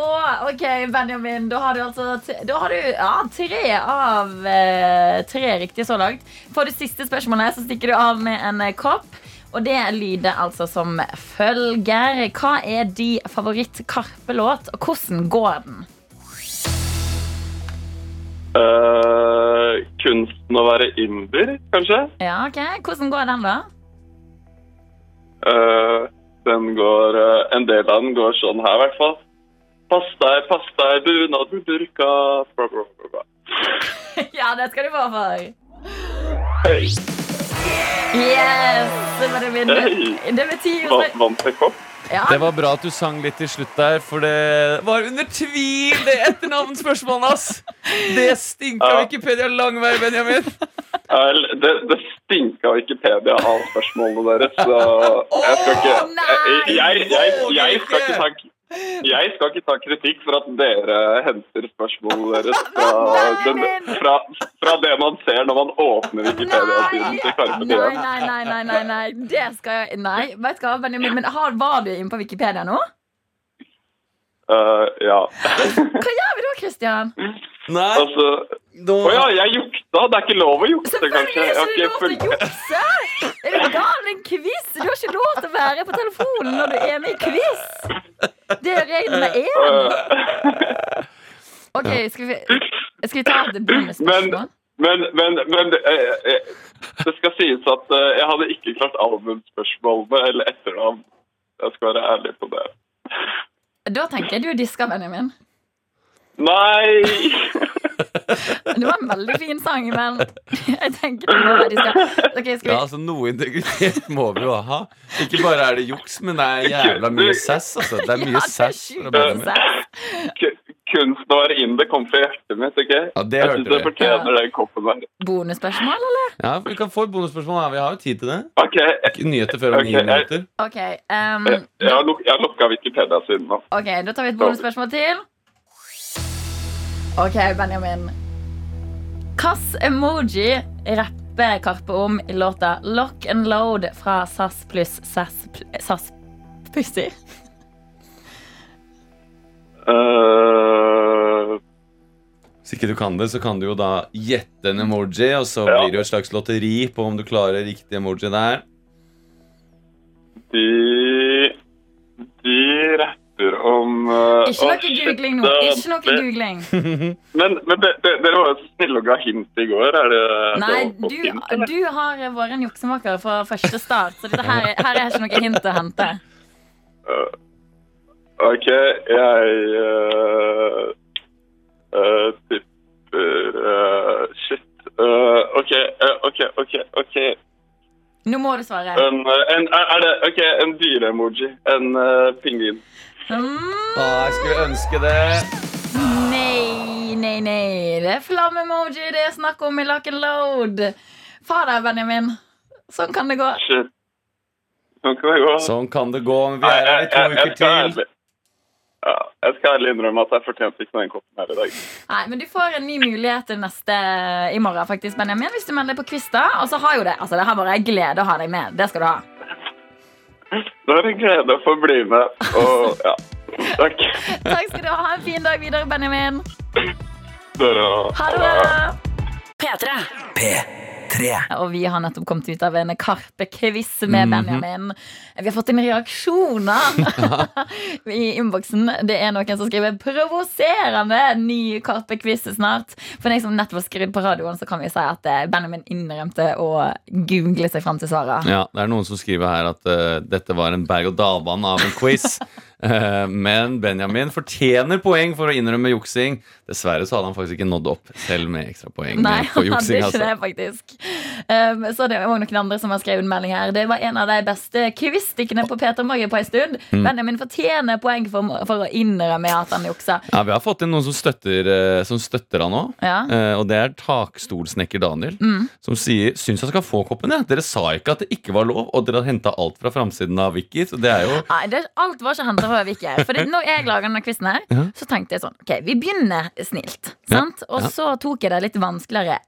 Ok, Benjamin, da har du altså t- Da har du ja, tre av eh, tre riktige så langt. Får du siste spørsmålet, så stikker du av med en eh, kopp. Og det lyder altså som følger. Hva er din favoritt-Karpe-låt, og hvordan går den?
Eh, kunsten å være inder, kanskje?
Ja, ok, Hvordan går den, da? (laughs)
Eh, den går, eh, en del av den går sånn her, i hvert fall. Pass deg, pass deg, bunad med burka. Bra, bra, bra, bra.
Ja, det skal du få for.
Hei,
Yes! Benjamin.
Hey.
Det betyr jo
vant, vant jeg kopp?
ja,
Det var bra at du sang litt til slutt der, for det var under tvil det etternavnsspørsmålet hans! Det stinka
Ja.
Wikipedia lang vei, Benjamin.
Vel, det, det stinka Wikipedia av spørsmålene deres, så jeg skal ikke Jeg, jeg, jeg, jeg, skal, ikke ta, jeg skal ikke ta kritikk for at dere henter spørsmålene deres fra, den, fra, fra det man ser når man åpner Wikipedia-siden til Karpe
Nei,
Diem.
nei, nei, nei, nei, nei. Det skal jeg Nei, vet du hva, Benjamin, men har, var du inne på Wikipedia nå?
Eh, ja.
Hva gjør vi da, Christian?
Nei,
altså
nå
Å ja, jeg jukta. Det er ikke lov å jukte, kanskje.
Selvfølgelig er
Jeg
ikke lov til
har ikke fulgt
å jukse! Er du gal? Det er en quiz! Du har ikke lov til å være på telefonen når du er med i quiz! Det er regel nummer én. Øh. OK, skal vi, skal vi ta et bonusspørsmål?
Men, men, men det, eh, eh, det skal sies at eh, jeg hadde ikke klart albumspørsmålene eller etternavn. Jeg skal være ærlig på det.
Da tenker jeg du disker, Benjamin.
Nei! (laughs)
Det var en veldig fin sang, men (laughs) jeg tenker du må være diska. Ok, skal vi
Ja, altså Noe integritet må vi jo ha. Ikke bare er det juks, men det er jævla mye sass. Altså. Det er
Ja,
mye
det er
sass.
sjukt
fra Benjamin.
sass.
K- Kunsten å være indie kom fra hjertet mitt. ok?
Ja, det
jeg
hørte
syns det
vi.
fortjener den koppen der.
Bonusspørsmål, eller?
Ja, Vi kan få et bonusspørsmål. her, Vi har jo tid til det.
Ok, jeg,
Ikke Nyheter før om
Ok,
ni
jeg-
minutter.
Ok, ehm,
jeg, jeg, har luk, jeg har lukka Wikipedia siden nå.
ok, da tar vi et bonusspørsmål til. Ok, Benjamin. Hvilken emoji rapper Karpe om i låta Lock and Load fra SAS pluss SAS pl- SAS Pussy?
Eh,
Hvis ikke du kan det, så kan du jo da gjette en emoji, og så
Ja.
blir det jo et slags lotteri på om du klarer riktig emoji der.
de De rapper om eh,
Ikke
å,
noe
shit,
googling nå.
det-
Ikke noe
det-
googling.
Men, men de, de, dere var jo så snille og ga hint i går. Er det
Nei,
det å få
du,
hint, eller?
du har vært en juksemaker fra første start, så dette her, her er ikke noe hint å hente.
OK, jeg eh, eh, tipper eh, Shit. Eh, OK, eh, OK, OK. ok.
Nå må du svare.
En, eh, en, er er det OK, en dyre-emoji. En eh, pingvin.
Mm,
Å, Ah, jeg skulle ønske det.
Nei, nei, nei. Det er flamme-emoji det er snakk om i Lock and Load. Fader, Benjamin. Sånn kan det gå.
Shit. Sånn kan det gå.
Sånn kan det gå. Men vi er her i to uker
skal
til.
ærlig- ja, jeg skal ærlig innrømme at jeg fortjente ikke den koppen her i dag.
Nei, men Du får en ny mulighet til neste i morgen, faktisk, Benjamin, hvis du melder deg på quiz. da. Og så har jo det altså, det her bare en glede å ha deg med. Det skal du ha.
Det var en glede å få bli med. Og ja, takk.
Takk skal du ha. Ha en fin dag videre, Benjamin.
Dere
Ha det bra.
P3.
P3
Og vi har nettopp kommet ut av en Karpe-quiz
Mhm.
med Benjamin. Vi har fått inn reaksjoner (laughs) i innboksen. Det er noen som skriver 'provoserende ny Karpe-quiz snart'. For deg som nettopp har skrudd på radioen, så kan vi si at eh, Benjamin innrømte å google seg fram til svaret.
Ja, Det er noen som skriver her at eh, dette var en berg-og-dal-bane av en (laughs) quiz. Eh, men Benjamin fortjener poeng for å innrømme juksing. Dessverre så hadde han faktisk ikke nådd opp, selv med ekstrapoeng
Nei,
på
han hadde
juksing.
ikke
Altså.
det, faktisk. Um, så det er også noen andre som har skrevet en melding her. Det var en av de beste quiz-stikkene på Peter Morgen på en stund.
Mm.
Benjamin fortjener poeng for, for å innrømme at han juksa.
Ja, Vi har fått inn noen som støtter, eh, som støtter han òg.
Ja. Mm.
Eh, og det er takstolsnekker Daniel, som sier syns han skal få koppen. Ja. Dere sa ikke at det ikke var lov, og dere har henta alt fra framsiden av Wiki. Så det er jo
Nei, det, alt var ikke henta fra Vike. Fordi når jeg laga denne quizen, her,
Ja.
så tenkte jeg sånn Ok, vi begynner snilt. Sant? Og
Ja.
så tok jeg det litt vanskeligere.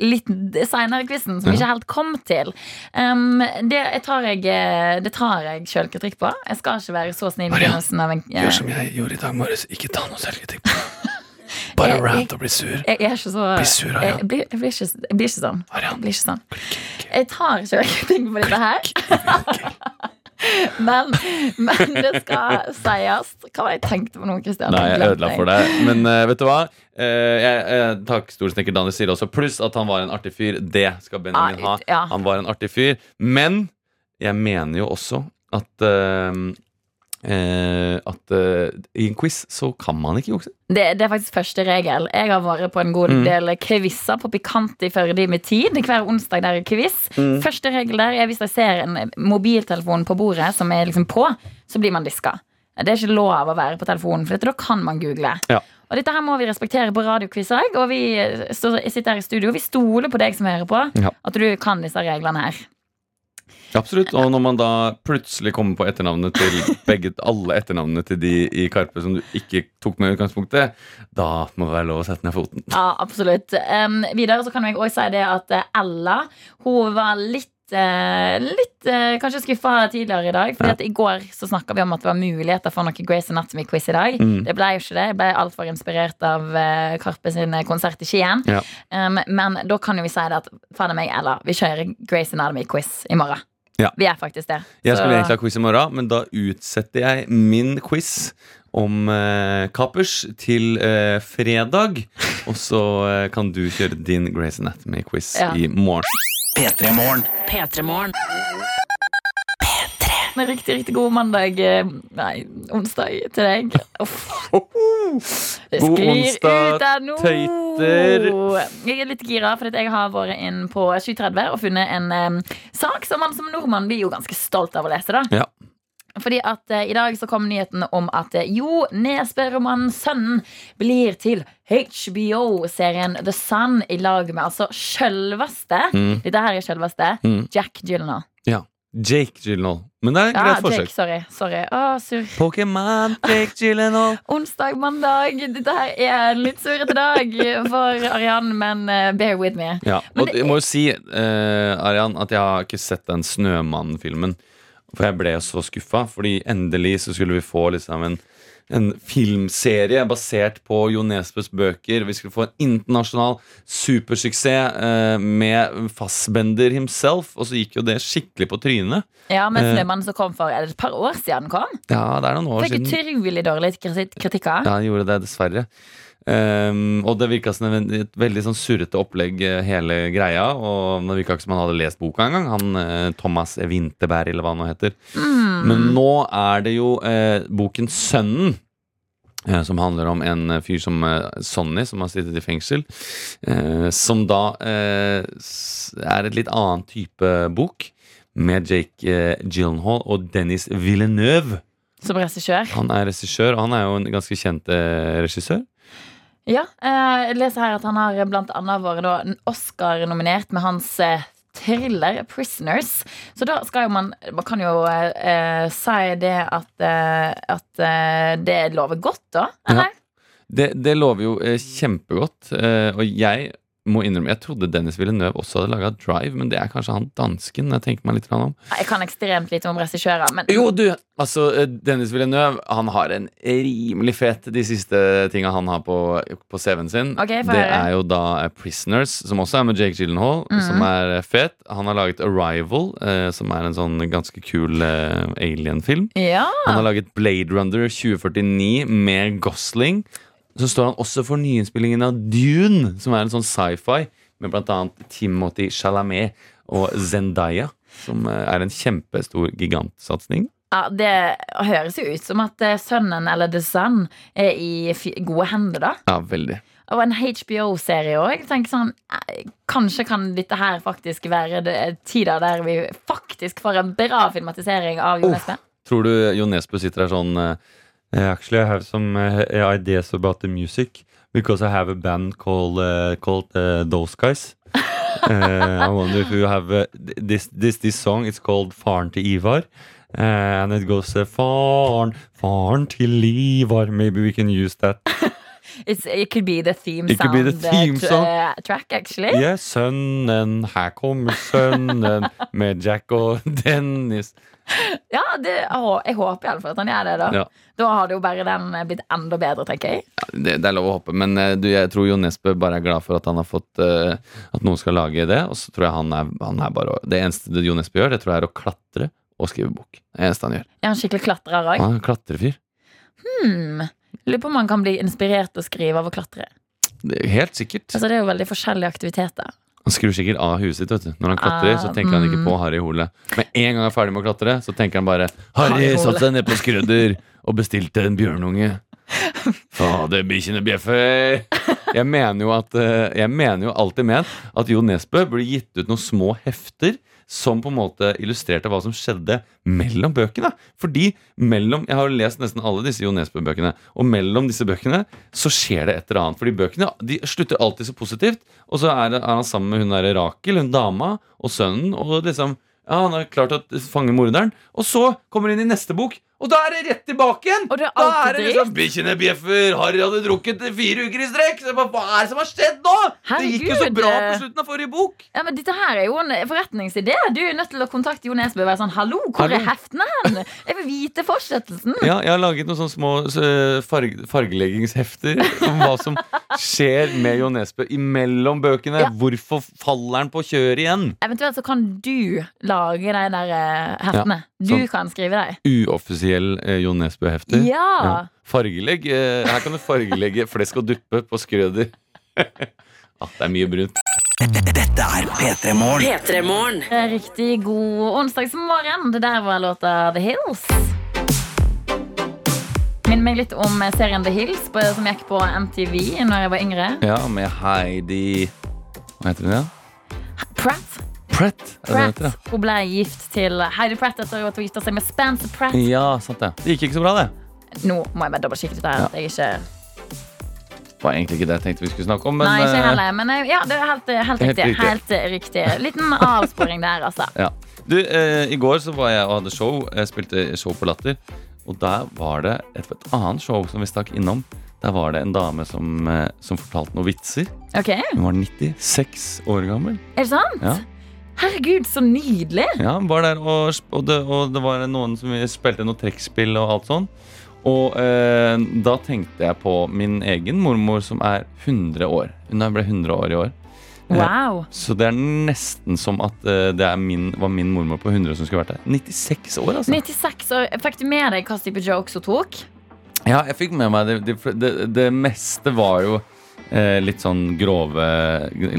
Litt seinere i quizen, som vi ikke helt kom til. Um, det jeg tar jeg, eh, det tar jeg sjølkritikk på. Jeg skal ikke være så snill i
Maria,
begynnelsen av en eh,
Gjør som jeg gjorde i dag morges. Ikke ta noe selvkritikk. på det.
(laughs) Jeg-
Bare rant og bli sur.
Jeg er ikke så
Bli sur, Arian.
jeg, blir, jeg, blir ikke, jeg blir ikke sånn. Jeg,
Arian.
blir ikke sånn. jeg tar ikke (laughs) ting på dette her. (laughs) men, men det skal sies. Hva var det jeg tenkte på nå, Kristian?
Nei, jeg ødela for deg. Men eh, vet du hva? Eh, jeg, jeg- takk, storsnekker Daniel sier også. Pluss at han var en artig fyr. Det skal Benjamin
Ah,
ha.
ut- ja.
Han var en artig fyr. Men jeg mener jo også at eh, eh, At eh, i en quiz så kan man ikke jukse.
Det, det er faktisk første regel. Jeg har vært på en god
Mm.
del quizer på Pikant i Førde i min tid. Hver onsdag der er quiz.
Mm.
Første regel der er hvis jeg ser en mobiltelefon på bordet som er liksom på, så blir man diska. Det er ikke lov å være på telefonen, for dette, da kan man google.
Ja.
Og dette her må vi respektere på radioquiz òg. Og vi står- sitter her i studio, vi stoler på deg som hører på,
Ja.
at du kan disse reglene her.
Absolutt. Og når man da plutselig kommer på etternavnet (laughs) til begge, alle etternavnene til de i Karpe som du ikke tok med i utgangspunktet, da må det være lov å sette ned foten.
Ja, absolutt. Em, videre så kan jeg også si det at eh, Ella hun var litt eh, litt eh, kanskje skuffa tidligere i dag. Fordi at I går så snakka vi om at det var muligheter for noe Grace Anatomy-quiz i dag.
Mm.
Det ble jo ikke det. Jeg ble altfor inspirert av eh, Karpe sin konsert i Skien.
Ja.
Em, men da kan jo vi si det at fader meg, Ella, vi kjører Grace Anatomy-quiz i morgen.
Ja.
Vi er faktisk det.
Jeg
Så-
skulle egentlig ha quiz i morgen, men da utsetter jeg min quiz om eh, Kappers til eh, fredag. Og så eh, kan du kjøre din Grace Anatomy-quiz
Ja.
i morgen.
P3 Morgen
P3-morgen.
En (laughs) riktig, riktig god mandag eh, Nei, onsdag til deg. Uff. Det
God
sklir
onsdag,
ut der nå.
tøyter.
Jeg er litt gira, for jeg har vært inn på 730 og funnet en eh, sak som man som nordmann blir jo ganske stolt av å lese. da
Ja.
Fordi at eh, I dag så kom nyheten om at eh, Jo Nesbø-romanen Sønnen blir til HBO-serien The Sun i lag med altså sjølveste
Mm.
Dette her er sjølveste
Mm.
Jack Gyllenhaal.
Jake Gyllenhaal. Men det er et
Ja,
greit
Jake,
forsøk.
sorry. sorry. Å, sur.
Pokémon Jake Gyllenhaal.
Onsdag, mandag. Dette her er en litt surrete dag for Arian, men eh, bear with me.
Ja,
Men
og
det-
jeg må jo si, eh, Arian, at jeg har ikke sett den Snømannen-filmen. For jeg ble så skuffa, fordi endelig så skulle vi få liksom en en filmserie basert på Jo Nesbøs bøker. Vi skulle få en internasjonal supersuksess eh, med Fassbender himself, og så gikk jo det skikkelig på trynet.
Ja, men
Eh.
Snømannen som kom for er det et par år siden, den kom.
Ja, det er noen år
Fikk
siden.
utrolig dårlig kriti- kritikker.
Ja, han gjorde det, dessverre. Ehm, og det virka som en, et veldig sånn surrete opplegg, eh, hele greia. Og det virka ikke som han hadde lest boka engang, han eh, Thomas Winterberg, eller hva han nå heter. Men nå er det jo eh, boken 'Sønnen'. eh, Som handler om en eh, fyr som eh, Sonny, som har sittet i fengsel. eh, Som da eh, s- er et litt annen type bok, med Jake eh, Gyllenhaal og Dennis Villeneuve.
Som regissør.
Han er regissør, og han er jo en ganske kjent eh, regissør.
Ja, eh, jeg leser her at han har blant annet vært da en Oscar-nominert med hans eh, thriller 'Prisoners'. Så da skal jo man Man kan jo eh, eh, si det at, eh, at eh, det lover godt, da. Eller?
Det, det lover jo eh, kjempegodt, eh, og jeg må innrømme Jeg trodde Dennis Villeneuve også hadde laga Drive, men det er kanskje han dansken jeg tenker meg litt grann om.
Jeg kan ekstremt lite om regissører, men
Jo, du, altså eh, Dennis Villeneuve, han har en rimelig fet de siste tinga han har på, på CV-en sin.
Ok, få
det
høre.
er jo da eh, Prisoners, som også er med Jake Gyllenhaal, som
Mhm.
er eh, fet. Han har laget Arrival, eh, som er en sånn ganske kul eh, alien-film.
ja.
Han har laget Blade Runner 2049 med Gosling. Så står han også for nyinnspillingen av Dune, som er en sånn sci-fi, med bl.a. Timothy Chalamet og Zendaya, som eh, er en kjempestor gigantsatsing.
ja, det høres jo ut som at eh, sønnen eller The Sun er i fi- gode hender, da.
Ja, veldig.
Og en HBO-serie òg. Sånn, eh, kanskje kan dette her faktisk være det- tida der vi faktisk får en bra filmatisering av Jo Nesbø.
Tror du Jo Nesbø sitter der sånn eh,
Uh, actually, I have some uh, ideas about the music because I have a band called uh, called uh, Those Guys. Uh, I wonder if you have uh, th- this this this song. It's called "Faren til Ivar," uh, and it goes uh, "Faren, faren til Ivar." Maybe we can use that.
It's- It could be the theme
It could be the
sound, eh,
theme
tr-
song.
eh, track, actually.
Ja, sønnen, her kommer sønnen med Jack og (laughs) Dennis.
Ja, det, å, Jeg håper iallfall at han gjør det. Da
Ja.
Da hadde jo bare den eh, blitt enda bedre, tenker jeg.
det, det er lov å håpe, men eh, du, jeg tror Jo Nesbø bare er glad for at han har fått eh, At noen skal lage det. Og så tror jeg han er, han er bare å- Det eneste det Jo Nesbø gjør, det tror jeg er å klatre og skrive bok. Det er det eneste han gjør.
Er han skikkelig klatrer òg?
Han er en klatrefyr.
Hmm. Lurer på om han kan bli inspirert til å skrive av å klatre.
Det er Helt sikkert.
Altså, det er jo veldig forskjellige aktiviteter.
Han skrur sikkert av huet sitt. vet du Når han klatrer, så
Ah,
tenker han ikke
mm.
på Harry Hole. Med en gang han er ferdig med å klatre, så tenker han bare Harry
Harry Hole."
satte seg ned på skrudder og bestilte en bjørnunge. Fader, bikkjene bjeffer. Jeg mener jo at eh, Jeg mener jo alltid ment at Jo Nesbø burde gitt ut noen små hefter som på en måte illustrerte hva som skjedde mellom bøkene. Fordi mellom Jeg har jo lest nesten alle disse Jo Nesbø-bøkene. Og mellom disse bøkene så skjer det et eller annet. Fordi bøkene de slutter alltid så positivt. Og så er, det- er han sammen med hun der Rakel, hun dama, og sønnen. Og liksom ja, Han har klart å fange morderen. Og så kommer hun inn i neste bok, og da er det rett tilbake igjen!
Og det er
Da
alltid
er det liksom Bikkjene bjeffer, Harry hadde drukket i fire uker i strekk. Så jeg bare, Hva er det som har skjedd nå? Det gikk jo så
Herregud.
bra på slutten av forrige bok.
Ja, men Dette her er jo en forretningsidé. Du er nødt til å kontakte Jo Nesbø og være sånn Hallo, hvor
Hallo.
er heftene hen? Jeg vil vite fortsettelsen.
Ja, jeg har laget noen sånne små eh, farg fargeleggingshefter om hva som skjer med Jo Nesbø imellom bøkene.
Ja.
Hvorfor faller han på kjøret igjen?
Eventuelt så kan du lage de der eh, heftene.
sånn.
Du kan skrive dem.
Uoffisiell eh, Jo Nesbø-hefter.
Ja.
Fargelegg. eh, her kan du fargelegge flesk og duppe på skrøder. (laughs) ah, det er mye brunt.
Dette er P3 Morgen.
P3-morgen.
Riktig god onsdagsmorgen. Det der var låta The Hills. Minn meg litt om eh, serien The Hills på- som gikk på MTV når jeg var yngre.
Ja, med Heidi Hva heter hun, ja?
Pratt.
Pratt. er det det
Pratt.
heter,
Hun ble gift til Heidi Pratt etter at hun gifta seg med Spencer Pratt.
ja? ja, sant det. Det gikk ikke så bra, det.
Nå må jeg bare dobbeltsjekke dette. her at jeg ikke...
Det var egentlig ikke det jeg tenkte vi skulle snakke om. Men,
Nei, ikke
eh,
heller. Men eh, ja, det er helt, eh, helt
Helt
riktig.
riktig.
Helt eh, riktig. Liten avsporing der, altså.
Ja. Du, eh, I går så var jeg og hadde show. Jeg spilte show på Latter. Og der var det et, et annet show som vi stakk innom. Der var det en dame som, eh, som fortalte noen vitser.
Ok,
Hun var 96 år gammel.
Er det sant?
Ja.
Herregud, så nydelig!
Ja, hun var der og, sp- og, det, og det var noen som spilte noe trekkspill og alt sånn. Og eh, da tenkte jeg på min egen mormor som er 100 år. Hun ble 100 år i år.
Wow.
Så det er nesten som at eh, det er min, var min mormor på 100 som skulle vært der. 96 år, altså.
96 år. Fikk du med deg hva type jokes hun tok?
Ja, jeg fikk med meg det, det, det, det meste var jo eh, litt sånn grove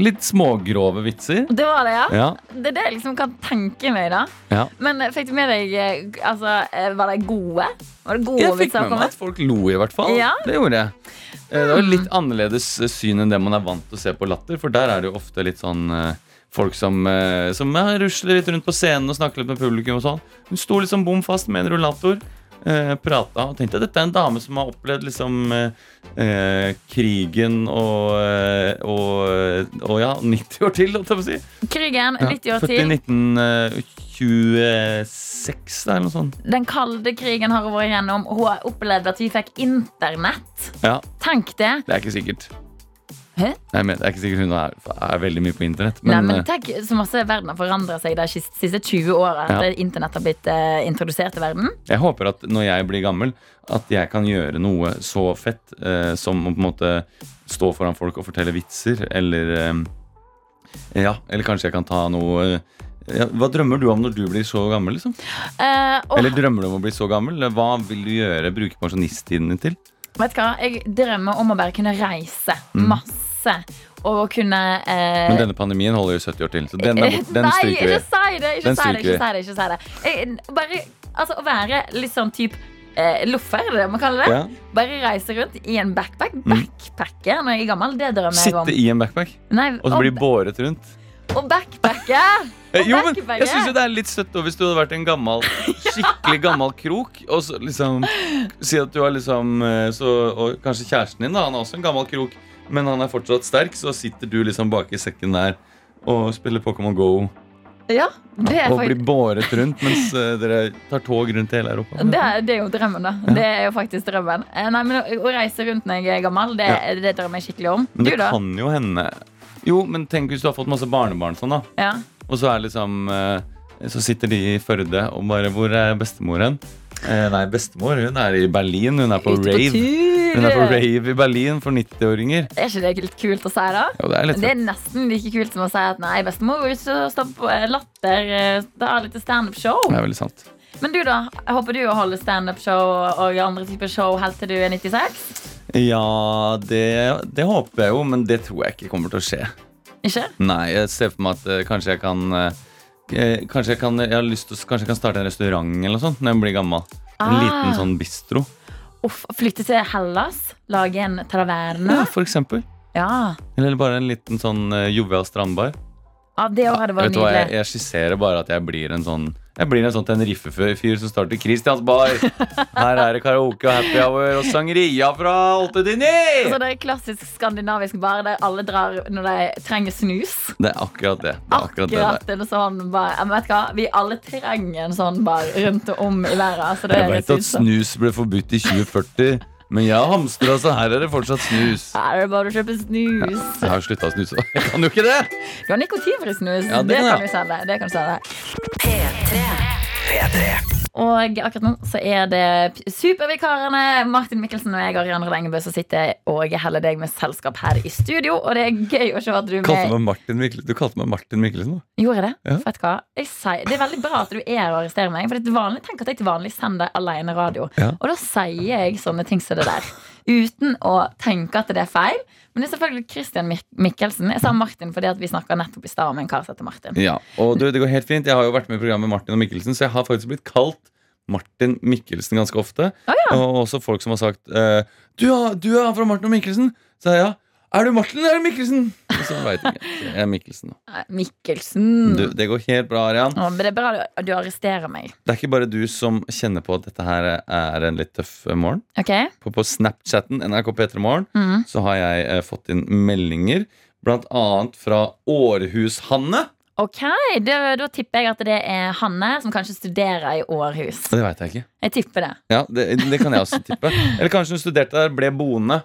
Litt smågrove vitser.
Det var det, ja.
Ja.
Det er det jeg liksom kan tenke meg, da.
ja.
Men eh, fikk du med deg eh, Altså, eh, var de gode? Var det gode
Jeg fikk
vitser å
med meg
komme?
at folk lo, i hvert fall.
Ja. Hmm.
Det gjorde jeg. Eh, Det var litt annerledes eh, syn enn det man er vant til å se på Latter, for der er det jo ofte litt sånn eh, Folk som, eh, som ja, rusler litt rundt på scenen og snakker litt med publikum. og sånn Hun sto liksom bom fast med en rullator, eh, prata og tenkte at dette er en dame som har opplevd liksom eh, eh, krigen og, eh, og, og ja, 90 år til, holdt jeg på å si.
Krigen,
Ja,
90 år
Født i
til.
1926, da, eller noe sånt.
Den kalde krigen har hun vært igjennom. Hun har opplevd at vi fikk internett.
Ja,
Tenk det.
Det er ikke sikkert.
Hæ?
Nei, men Det er ikke sikkert hun er, er veldig mye på internett.
Nei,
Men,
men
eh,
tenk så masse verden har forandret seg de siste, siste 20 åra.
Ja.
At internett har blitt eh, introdusert til verden.
jeg håper at når jeg blir gammel, at jeg kan gjøre noe så fett eh, som å på en måte stå foran folk og fortelle vitser, eller eh, Ja, eller kanskje jeg kan ta noe eh, ja, Hva drømmer du om når du blir så gammel? liksom?
Eh, og
Eller drømmer du om å bli så gammel? Eller Hva vil du gjøre, bruke pensjonisttiden din til?
vet du hva? Jeg drømmer om å bare kunne reise masse. Og å kunne eh,
Mm. Men denne pandemien holder jo 70 år til, så den, er bort,
(laughs)
den
Nei,
stryker vi.
ikke si det! Ikke
Den
si det, ikke
stryker
si det, ikke si det. Jeg, bare, altså, å være litt sånn type eh, loffer, er det det man kaller det?
Ja. Mm.
Bare reise rundt i en backpack. Backpacker når jeg er gammel, det drømmer jeg om.
Sitte i en backpack
Nei,
og så
og-
bli båret rundt.
og
(laughs)
backpacker!
Eh, Jo, men
Backpacker.
jeg synes jo det er litt søtt da, hvis du hadde vært en
(laughs)
gammel, skikkelig gammel krok. Og så liksom Si at du har liksom eh, så, Og kanskje kjæresten din, da. Han er også en gammel krok, men han er fortsatt sterk, så sitter du liksom bak i sekken der og spiller Pokémon Go.
Ja, det er
Og
faktisk
blir båret rundt mens eh, dere tar tog rundt i hele Europa.
Det er, det er jo drømmen, da. Det er jo faktisk drømmen. Eh, Nei, men Å å reise rundt når jeg er gammel, det, det drømmer jeg skikkelig om.
Men
Du,
det
da?
kan jo hende Jo, men tenk hvis du har fått masse barnebarn sånn, da.
Ja.
Og så er liksom eh, Så sitter de i Førde og bare Hvor er bestemoren? Eh, Nei, bestemor hun er i Berlin. Hun er på
Ute på
rave.
tur.
Hun er på rave i Berlin for 90-åringer.
Er ikke det litt kult å si, da?
Jo, det er litt
Det er nesten like kult som å si at nei, bestemor går ut og står på eh, latter. eh, Da har litt
Det
standup-show.
er veldig sant.
Men du, da? Håper du å holde standup-show og andre typer show helt til du er 96?
Ja, det, det håper jeg jo, men det tror jeg ikke kommer til å skje.
Ikke?
Nei, jeg ser for meg at eh, kanskje jeg kan eh, eh, Kanskje jeg kan, jeg har lyst til, å- kanskje jeg kan starte en restaurant eller noe sånt når jeg blir gammel. En
Ah.
liten sånn bistro.
Uff, flytte til Hellas? Lage en
Ja,
traverne?
for eksempel.
Ja.
Eller bare en liten sånn eh, jovial strandbar.
ja det òg hadde
Vet
vært
du hva, jeg,
nydelig.
jeg skisserer bare at jeg blir en sånn Jeg blir en sånn Tenerife-fyr som starter Christians bar. Her er det karaoke og happy hour og sangeria fra åtte til ni!
Så Altså, det er en klassisk skandinavisk bar der alle drar når de trenger snus.
Det er akkurat det. det, er akkurat det,
Akkurat
det.
en sånn bar. Ja, Men vet du hva? Vi alle trenger en sånn bar rundt og om i verden. Så det
Jeg
høres ut
veit at
som-
snus ble forbudt i 2040, men jeg hamstrer, så her er det fortsatt snus.
Her er det bare å kjøpe snus.
Jeg har slutta å snuse. Jeg kan jo ikke det!
Du har nikotinfri snus.
Ja, det
det,
kan
kan du
jeg.
selge. det kan du selge. Og akkurat nå så er det p- supervikarene Martin Mikkelsen og jeg, Ariane Lengebø, som sitter og heller deg med selskap her i studio. Og det er gøy å se at du er med.
Kalte meg Martin Mikkel- du kalte meg Martin Mikkelsen, da?
Gjorde jeg det?
Ja.
Vet du hva? Jeg sier, det er veldig bra at du er her og arresterer meg. For det er vanlig, tenk at jeg til vanlig sender alene radio.
Ja.
Og da sier jeg sånne ting som det der. Uten å tenke at det er feil. Men det er selvfølgelig Christian Mik Mikkelsen. Jeg sa Martin fordi at vi snakka nettopp i stad om en kar som heter Martin.
Ja, og du, det går helt fint. Jeg har jo vært med i programmet Martin og Mikkelsen, så jeg har faktisk blitt kalt Martin Mikkelsen ganske ofte.
Å, ja.
Og også folk som har sagt eh, du, er- du er han fra Martin og Mikkelsen? Så jeg, ja. Er du Martin eller Mikkelsen? Og så vet jeg ikke. Jeg er Mikkelsen. da.
Nei, Eh, Mikkelsen.
Du, det går helt bra, Arian.
Å, men det er bra du, du arresterer meg.
Det er ikke bare du som kjenner på at dette her er en litt tøff eh, morgen.
Ok?
På, på Snapchatten NRK P3 Morgen
Mm.
så har jeg eh, fått inn meldinger, blant annet fra Århus-Hanne.
Ok, da, da tipper jeg at det er Hanne som kanskje studerer i Århus.
Det veit jeg ikke.
Jeg tipper det.
Ja, det, det kan jeg også tippe. Eller kanskje hun studerte der, ble boende.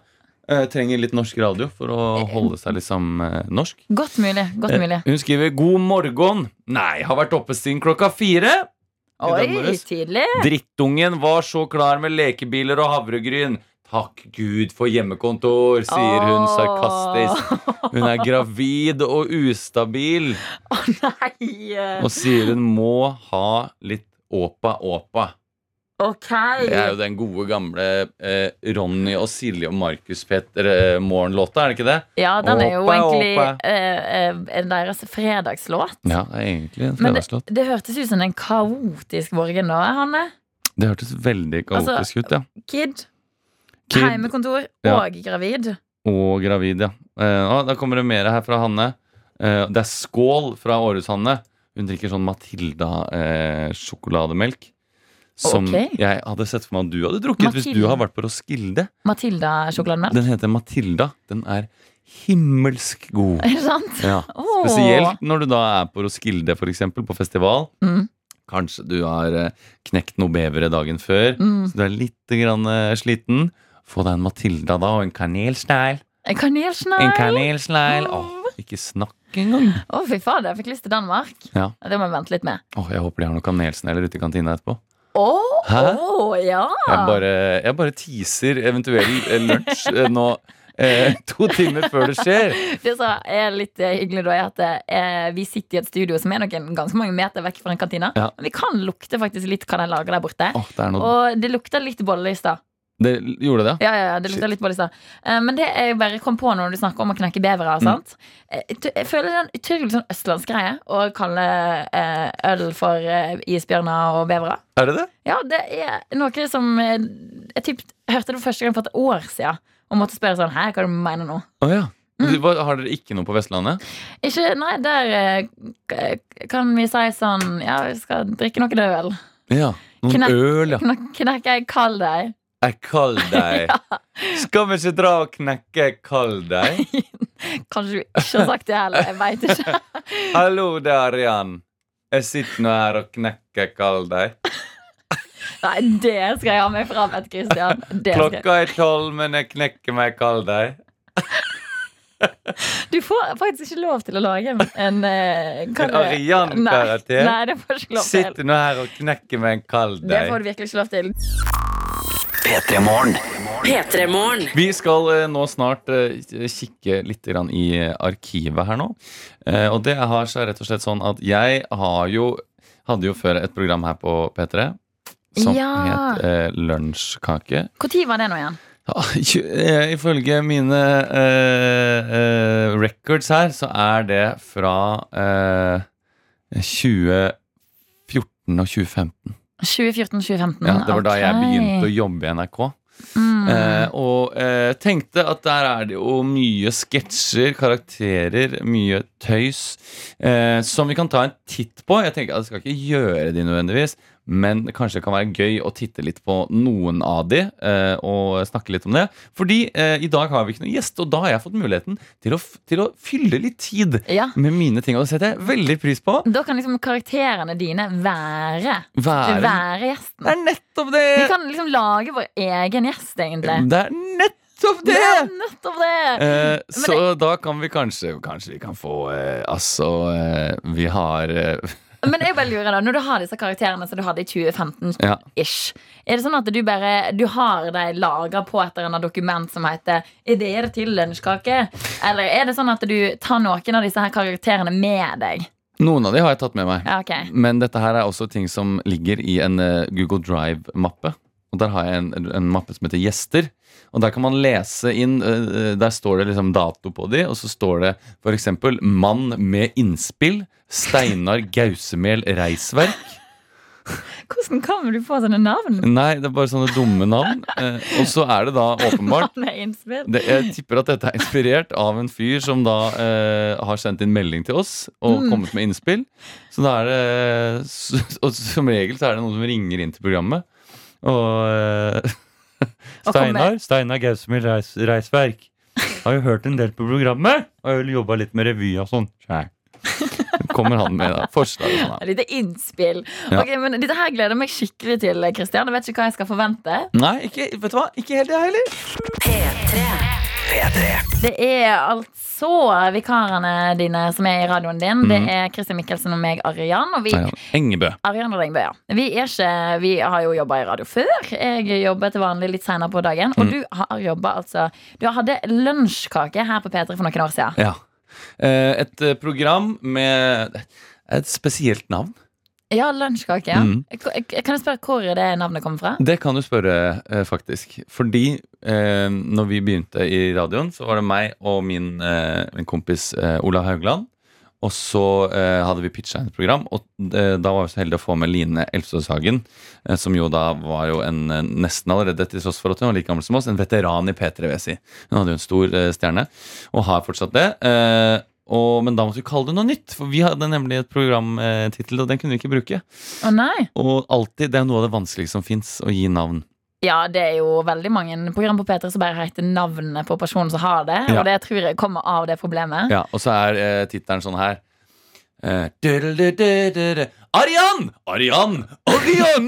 eh, trenger litt norsk radio for å holde seg liksom eh, norsk.
Godt mulig. godt mulig
Eh, Hun skriver 'God morgen'. Nei, har vært oppe siden klokka fire. i dag
Oi,
morges.
tydelig.
Drittungen var så klar med lekebiler og havregryn. Takk Gud for hjemmekontor, sier hun
Åh.
sarkastisk. Hun er gravid og ustabil,
Å nei! eh,
og sier hun må ha litt åpa-åpa.
Ok.
Det er jo den gode gamle eh, Ronny og Silje og Markus Petter-morgenlåta, er det ikke det?
Ja, den er jo
Åpa,
egentlig
åpa.
eh, eh, deres fredagslåt.
Ja, det er egentlig en
Men det,
fredagslåt.
det hørtes ut som en kaotisk morgen nå, Hanne.
Det hørtes veldig
Altså,
kaotisk ut, ja.
Kid,
Kid
heimekontor
Ja.
og gravid.
og gravid, ja. Eh, å, da kommer det mer her fra Hanne. Eh, det er skål fra Århus-Hanne. Hun drikker sånn Matilda-sjokolademelk. som
Ok.
jeg hadde sett for meg at du hadde drukket hvis du
Matilda.
har vært på Roskilde.
Matilda sjokolademelk.
Den heter Matilda. Den er himmelsk god.
(laughs) Er det sant?
Ja.
Åh.
Spesielt når du da er på Roskilde, for eksempel, på festival.
Mm.
Kanskje du har eh, knekt noe bevere dagen før,
Mm.
så du er litt grann, eh, sliten. Få deg en Matilda da, og en kanelsnegl.
En
En
kanelsnegl.
kanelsnegl. Åh, ikke snakk engang.
Å, fy fader, jeg fikk lyst til Danmark.
Ja.
Det må jeg vente litt med.
Åh, jeg håper de har noen kanelsnegler ute i kantina etterpå.
Å,
Hæ?
å, ja!
Jeg bare, jeg bare teaser eventuell eh, lunsj eh, nå eh, (laughs) to timer før det skjer.
Det som er litt eh, hyggelig, da, er at eh, vi sitter i et studio som er noen ganske mange meter vekk fra en kantina.
Ja.
Men Vi kan lukte faktisk litt hva de lager der borte.
Åh, det er noe
Og det lukta litt bolle i stad.
Det gjorde det, ja?
Ja, ja, ja, det lukta litt bolle i stad. Eh, Men det jeg bare kom på når du snakker om å knekke bevere. sant? Eh, Jeg t- jeg føler det er en utrolig sånn østlandsgreie å kalle eh, øl for eh, isbjørner og bevere.
Er det det?
Ja, det er noe som eh, Jeg typ, hørte det for første gang for et år siden. Og måtte spørre sånn Hæ, hva du mener nå?
Å ja.
Mm.
Du, hva, har dere ikke noe på Vestlandet?
Ikke, nei, der eh, k- kan vi si sånn Ja, vi skal drikke noe død øl.
Ja. Noen
Knekk.
øl, ja.
Knak- Knekke ei kald ei.
Jeg kall
(laughs)
deg. Skal vi ikke dra og knekke kall
(laughs)
deg?
Kanskje du ikke har sagt det heller. Jeg veit ikke.
Hallo der, Jan. Jeg sitter nå her og knekker kall deg.
Nei, det skal jeg ha meg frabedt, Christian. Det skal jeg.
Klokka er tolv, men jeg knekker meg kall deg.
Du får faktisk ikke lov til å lage en, en eh, hva
En
er det?
Ariane-karakter?
Nei, nei, det får du ikke lov til.
Sitter nå her og knekker meg en kald
Det
deg.
får du virkelig ikke lov til.
P3 Morgen.
P3-morgen.
Vi skal eh, nå snart eh, kikke litt grann i eh, arkivet her nå. Eh, og det har seg rett og slett sånn at jeg har jo Hadde jo før et program her på P3 som
Ja.
het eh, Lunsjkake.
Når var det nå igjen?
Ja, (laughs) tju- eh, Ifølge mine eh, eh, records her, så er det fra eh, 2014 og 2015.
2014-2015.
Ja, det var da jeg begynte å jobbe i NRK.
mm.
Eh, og eh, tenkte at der er det jo mye sketsjer, karakterer, mye tøys eh, som vi kan ta en titt på. Jeg tenker at Jeg skal ikke gjøre de nødvendigvis, men kanskje det kan være gøy å titte litt på noen av de eh, og snakke litt om det. Fordi eh, i dag har vi ikke noen gjest, og da har jeg fått muligheten til å, f- til å fylle litt tid
Ja.
med mine ting. Og det setter jeg veldig pris på.
Da kan liksom karakterene dine være
Være
Være gjesten.
Det er nettopp det!
Vi kan liksom lage vår egen gjest, egentlig.
Det er nettopp det!
er nettopp det!
Eh, så da kan vi kanskje Kanskje vi kan få eh, Altså, eh, vi har eh, (laughs)
Men jeg bare lurer da, når du har disse karakterene som du hadde i 2015-ish,
Ja.
er det sånn at du bare Du har dem laga på et eller annet dokument som heter 'Ideer til lunsjkake'? Eller er det sånn at du tar noen av disse her karakterene med deg?
Noen av de har jeg tatt med meg.
Ja, ok.
Men dette her er også ting som ligger i en eh, Google Drive-mappe. Og Der har jeg en, en mappe som heter Gjester. Og Der kan man lese inn eh, Der står det liksom dato på de, og så står det f.eks. Mann med innspill. Steinar Gausemel Reisverk.
Hvordan Hvordan kommer du på sånne navn?
Nei, det er bare sånne dumme navn. Eh, og så er det da åpenbart
Han er innspill.
det, Jeg tipper at dette er inspirert av en fyr som da eh, har sendt inn melding til oss
Mm.
og kommet med innspill. Så da er det s- Og som regel så er det noen som ringer inn til programmet. Og eh,
Og kommer-
Steinar Steinar Gausmil Reis, Reisverk. Har jo hørt en del på programmet og har jo jobba litt med revy og sånn. Sjæl. Kommer han med da, forslag? og sånn da.
Et lite innspill.
Ja.
Ok, men Dette her gleder jeg meg skikkelig til. Kristian. Jeg vet ikke hva jeg skal forvente.
Nei, ikke, vet du hva? ikke helt jeg heller.
Det er altså vikarene dine som er i radioen din. Det
Mhm.
er Kristian Mikkelsen og meg, Arian. Og vi,
Nei, Engebø.
Arian og Lengbø, ja. vi, er ikke, vi har jo jobba i radio før. Jeg jobber til vanlig litt seinere på dagen.
Mm.
Og du har jobba altså Du hadde lunsjkake her på P3 for noen år siden.
Ja. Eh, Et eh, program med et spesielt navn.
Ja, lunsjkake. Ja.
Mm.
K- Kan jeg spørre hvor det navnet kommer fra?
Det kan du spørre, eh, faktisk. Fordi eh, når vi begynte i radioen, så var det meg og min eh, min kompis eh, Ola Haugland. Og så eh, hadde vi pitcha et program, og eh, da var vi så heldige å få med Line Elfsås Hagen. Eh, som jo da var jo en eh, nesten allerede, til tross for at hun var like gammel som oss, en veteran i P3, vil jeg si. Hun hadde jo en stor eh, stjerne, og har fortsatt det. Eh, og, men da måtte vi kalle det noe nytt, for vi hadde nemlig et programtittel, og den kunne vi ikke bruke.
Å nei!
Og alltid, det er noe av det vanskeligste som fins, å gi navn.
Ja, det er jo veldig mange program på P3 som bare heter navnet på personen som har det.
Ja.
Og det tror jeg kommer av det problemet.
(laughs) Ja, og så er eh, tittelen sånn her eh, dudelududududu. Arian! Arian!
(laughs)
Arian!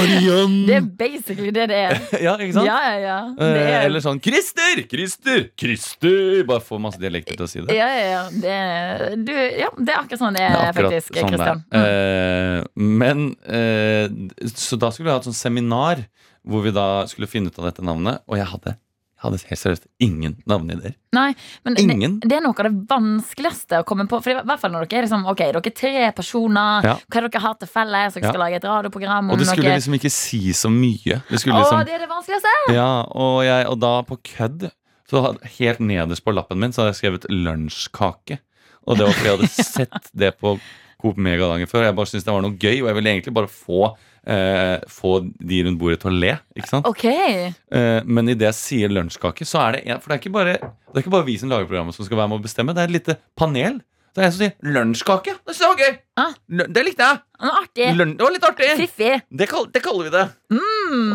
Arian!
Det er basically det det er.
Ja, (laughs) ikke sant?
Ja, ja, ja. Det
Eh,
er,
eller sånn Christer! Christer! Christer! Bare få masse dialekter til å si det.
ja, ja, ja. Det, er- du, ja, det er akkurat sånn det
Det
er,
er akkurat
faktisk,
sånn det
Kristian.
er.
Mm.
Eh, men eh, d- Så da skulle vi ha et sånt seminar hvor vi da skulle finne ut av dette navnet, og jeg hadde, jeg hadde helt seriøst ingen navneideer.
Nei, men
Ingen.
Det, det er noe av det vanskeligste å komme på. For i hvert fall når dere er liksom, ok, dere er tre personer.
Ja.
Hva er det dere har til felles? Dere
Ja.
skal lage et radioprogram om
Og du skulle
noe.
liksom ikke si så mye. Du skulle
Mm, Å,
liksom
det er det vanskeligste!
Ja, og, jeg, og da på kødd Så had- helt nederst på lappen min Så hadde jeg skrevet lunsjkake Og det var fordi jeg hadde sett det på Coop Mega dagen før Jeg bare syntes det var noe gøy Og jeg ville egentlig bare få eh, Få de rundt bordet til å le Ikke sant?
Ok.
Eh, men i det jeg sier lunsjkake Så er det en For det er ikke bare Det er ikke bare vi som lager programmet Som skal være med å bestemme Det er et lite panel Det er en som sier lunsjkake Det synes jeg var gøy
Ah.
Lø- Det likte jeg
Men artig.
Løn, Det var litt artig
Fiffig.
det, kall, det kaller vi det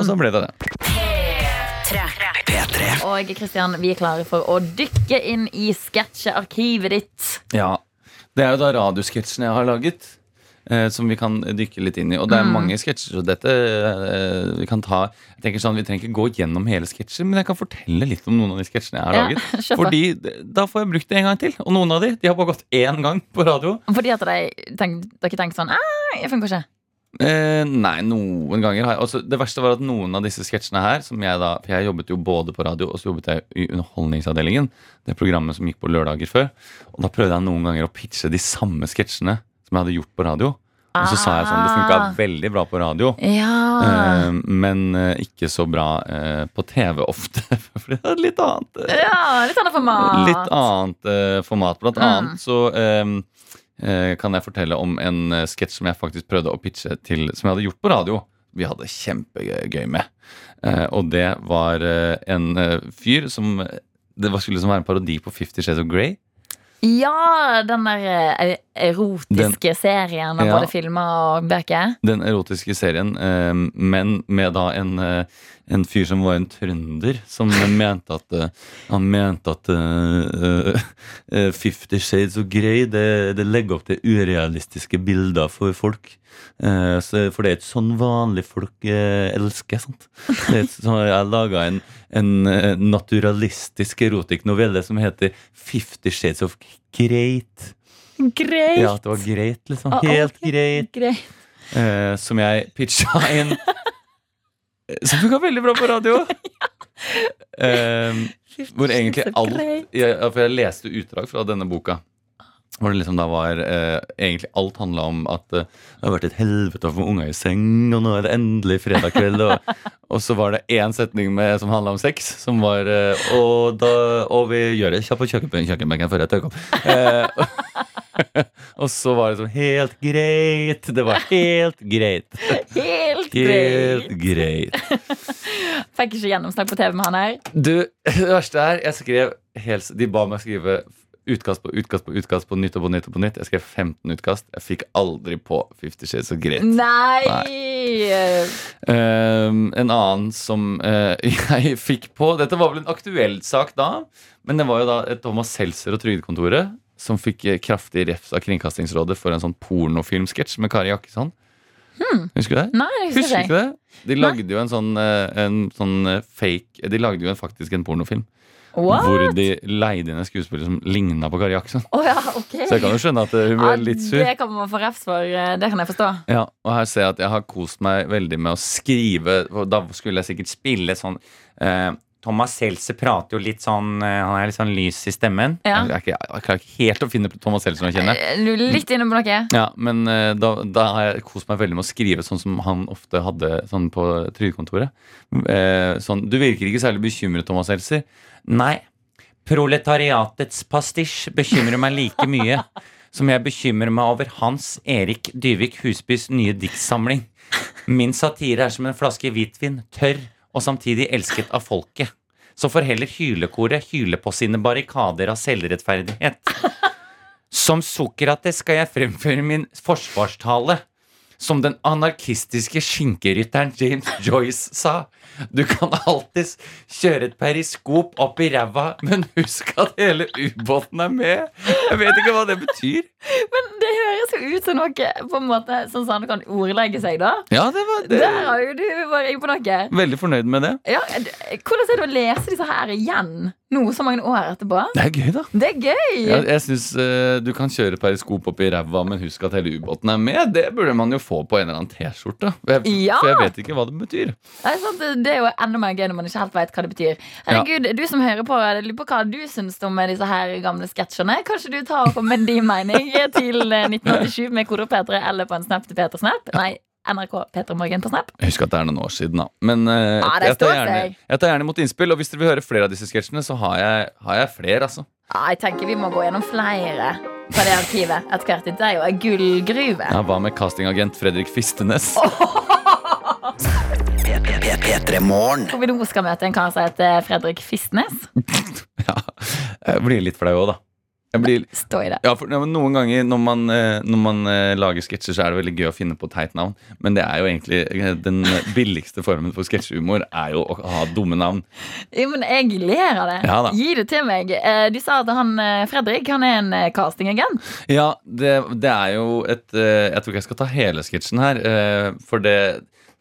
Og så ble det det
Og Kristian, vi er klare for å dykke inn i sketsjearkivet ditt.
Ja. Det er jo da radiosketsjene jeg har laget, eh, som vi kan dykke litt inn i. Og det
Mm.
er mange sketsjer, og dette eh, vi kan ta Jeg tenker sånn, Vi trenger ikke gå gjennom hele sketsjer, men jeg kan fortelle litt om noen av de sketsjene jeg har
Ja,
laget.
(laughs) kjør på.
Fordi d- da får jeg brukt det en gang til. Og noen av de de har bare gått én gang på radio.
Fordi at de tenk, dere tenker sånn «Ah, Jeg funker ikke.
Eh, nei, noen ganger har jeg altså, Det verste var at noen av disse sketsjene her som jeg da, For jeg jobbet jo både på radio og så jobbet jeg i Underholdningsavdelingen. Det programmet som gikk på lørdager før. Og da prøvde jeg noen ganger å pitche de samme sketsjene som jeg hadde gjort på radio. Og så sa jeg sånn Det funka
Ah.
veldig bra på radio,
Ja.
eh, men eh, ikke så bra eh, på TV ofte. (laughs) For det er litt annet. eh,
ja litt annet format.
Litt annet eh, format. Blant
Mm.
annet så eh, eh, kan jeg fortelle om en eh, sketsj som jeg faktisk prøvde å pitche til Som jeg hadde gjort på radio. Vi hadde kjempegøy med. Eh, og det var eh, en eh, fyr som Det var- skulle liksom være en parodi på Fifty Shades of Grey.
Ja, den der eh, erotiske serien av
Ja.
både filmer og bøker.
Den erotiske serien, eh, men med da en, eh, en fyr som var en trønder, som (laughs) mente at eh, Han mente at eh, eh, (laughs) Fifty Shades of Grey det, det legger opp til urealistiske bilder for folk. Eh, så, for det er ikke sånn vanlige folk eh, elsker. Sant? Det er et, så jeg laga en, en eh, naturalistisk erotikk novelle som heter Fifty Shades of Greit.
Greit.
Ja, at det var greit, liksom.
Ah,
Helt
ok.
greit.
Greit.
Eh, som jeg pitcha inn. eh, Som funka veldig bra på radio. Eh, hvor egentlig alt jeg, For jeg leste utdrag fra denne boka. Hvor det liksom da var eh, Egentlig alt handla om at eh, det har vært et helvete å få unga i seng, og nå er det endelig fredag kveld. Og, og så var det én setning med, som handla om sex, som var eh, og, da, og vi gjør det kjapt på kjøkken, kjøkkenbenken før jeg tørker opp. Eh, Og så var det sånn helt greit. Det var helt greit.
Helt greit.
Helt greit.
Fikk ikke gjennomslag på TV med han her.
Du, (laughs) det verste er Jeg skrev helt, De ba meg skrive utkast på utkast på utkast på nytt og på nytt. og på nytt Jeg skrev 15 utkast. Jeg fikk aldri på Fifty Shades of Greit.
Nei!
Ehm, en annen som eh, (laughs) jeg fikk på Dette var vel en aktuell sak da, men det var jo da et Thomas Seltzer og Trygdekontoret som fikk eh, kraftig refs av Kringkastingsrådet for en sånn pornofilmsketsj med Kari Jakkesson. Husker du det?
Nei, det husker
Husker
jeg
ikke det? De lagde jo en sånn, eh, en sånn eh, fake De lagde jo en, faktisk en pornofilm.
What?
Hvor de leide inn en skuespiller som ligna på Kari Jakkesson.
Å ja, ok.
Så jeg kan jo skjønne at eh, hun ble
Ja,
litt sur.
Det kan man få refs for. eh, Det kan jeg forstå.
Ja, og her ser jeg at jeg har kost meg veldig med å skrive og Da skulle jeg sikkert spille sånn eh, Thomas Seltzer prater jo litt sånn eh, Han er litt sånn lys i stemmen
Ja.
jeg, er ikke- jeg klarer ikke helt å finne Thomas Seltzer når jeg kjenner
Eh, Du er litt inne på noe.
ja, men eh, da, da har jeg kost meg veldig med å skrive sånn som han ofte hadde sånn på trygdekontoret. Eh, sånn, du virker ikke særlig bekymret, Thomas Helser. Nei. Proletariatets pastisj bekymrer meg like mye som jeg bekymrer meg over Hans Erik Dyvik Husbys nye diktsamling. Min satire er som en flaske hvitvin, tørr og samtidig elsket av folket. Så får heller hylekoret hyle på sine barrikader av selvrettferdighet. Som Sokrates skal jeg fremføre min forsvarstale. Som den anarkistiske skinkerytteren James (laughs) Joyce sa. Du kan alltids kjøre et periskop opp i ræva, men husk at hele ubåten er med. Jeg vet ikke hva det betyr.
Men det høres jo ut som noe på en måte sånn som han kan ordlegge seg, da.
Ja, det var det.
Der har jo du vært inne på noe.
Veldig fornøyd med det.
Ja, d- hvordan er det å lese disse her igjen nå så mange år etterpå?
Det er gøy, da.
Det er gøy!
Jeg, jeg synes, eh, Du kan kjøre et periskop opp i ræva, men husk at hele ubåten er med. Det burde man jo få på en eller annen T-skjorte. Jeg-
Ja.
For jeg vet ikke hva det betyr.
Det er, sant, det er jo enda mer gøy når man ikke helt vet hva det betyr. Herregud, Du som hører på, jeg lurer på hva du syns om disse her gamle sketsjene. Kanskje du tar og kommer med din mening til eh, 1987 med koder P3 eller på en snap til P3snap? Nei, NRK P3 Morgen på snap.
Jeg husker at det er noen år siden, da. Men eh,
Ja, Ah, det
jeg, tar
står
gjerne,
seg.
jeg tar gjerne imot innspill. Og hvis dere vil høre flere av disse sketsjene, så har jeg, har jeg flere. altså
Ja, jeg tenker vi må gå gjennom flere fra det arkivet etter hvert. Det er jo en gullgruve.
ja, Hva med castingagent Fredrik Fistenes?
P3 Morgen.
Hvor vi nå skal møte en kar som heter Fredrik Fistnes.
(laughs) Ja, jeg blir litt flau òg, da. Jeg blir,
Stå i det.
ja, for, ja, men noen ganger når man, eh, når man eh, lager sketsjer, så er det veldig gøy å finne på et teit navn. Men det er jo egentlig eh, den billigste formen for sketsjehumor er jo å ha dumme navn.
Jo, men jeg ler av det.
Ja da.
Gi det til meg. Eh, De sa at han eh, Fredrik han er en eh, castingagent.
Ja, det, det er jo et eh, Jeg tror ikke jeg skal ta hele sketsjen her, eh, for det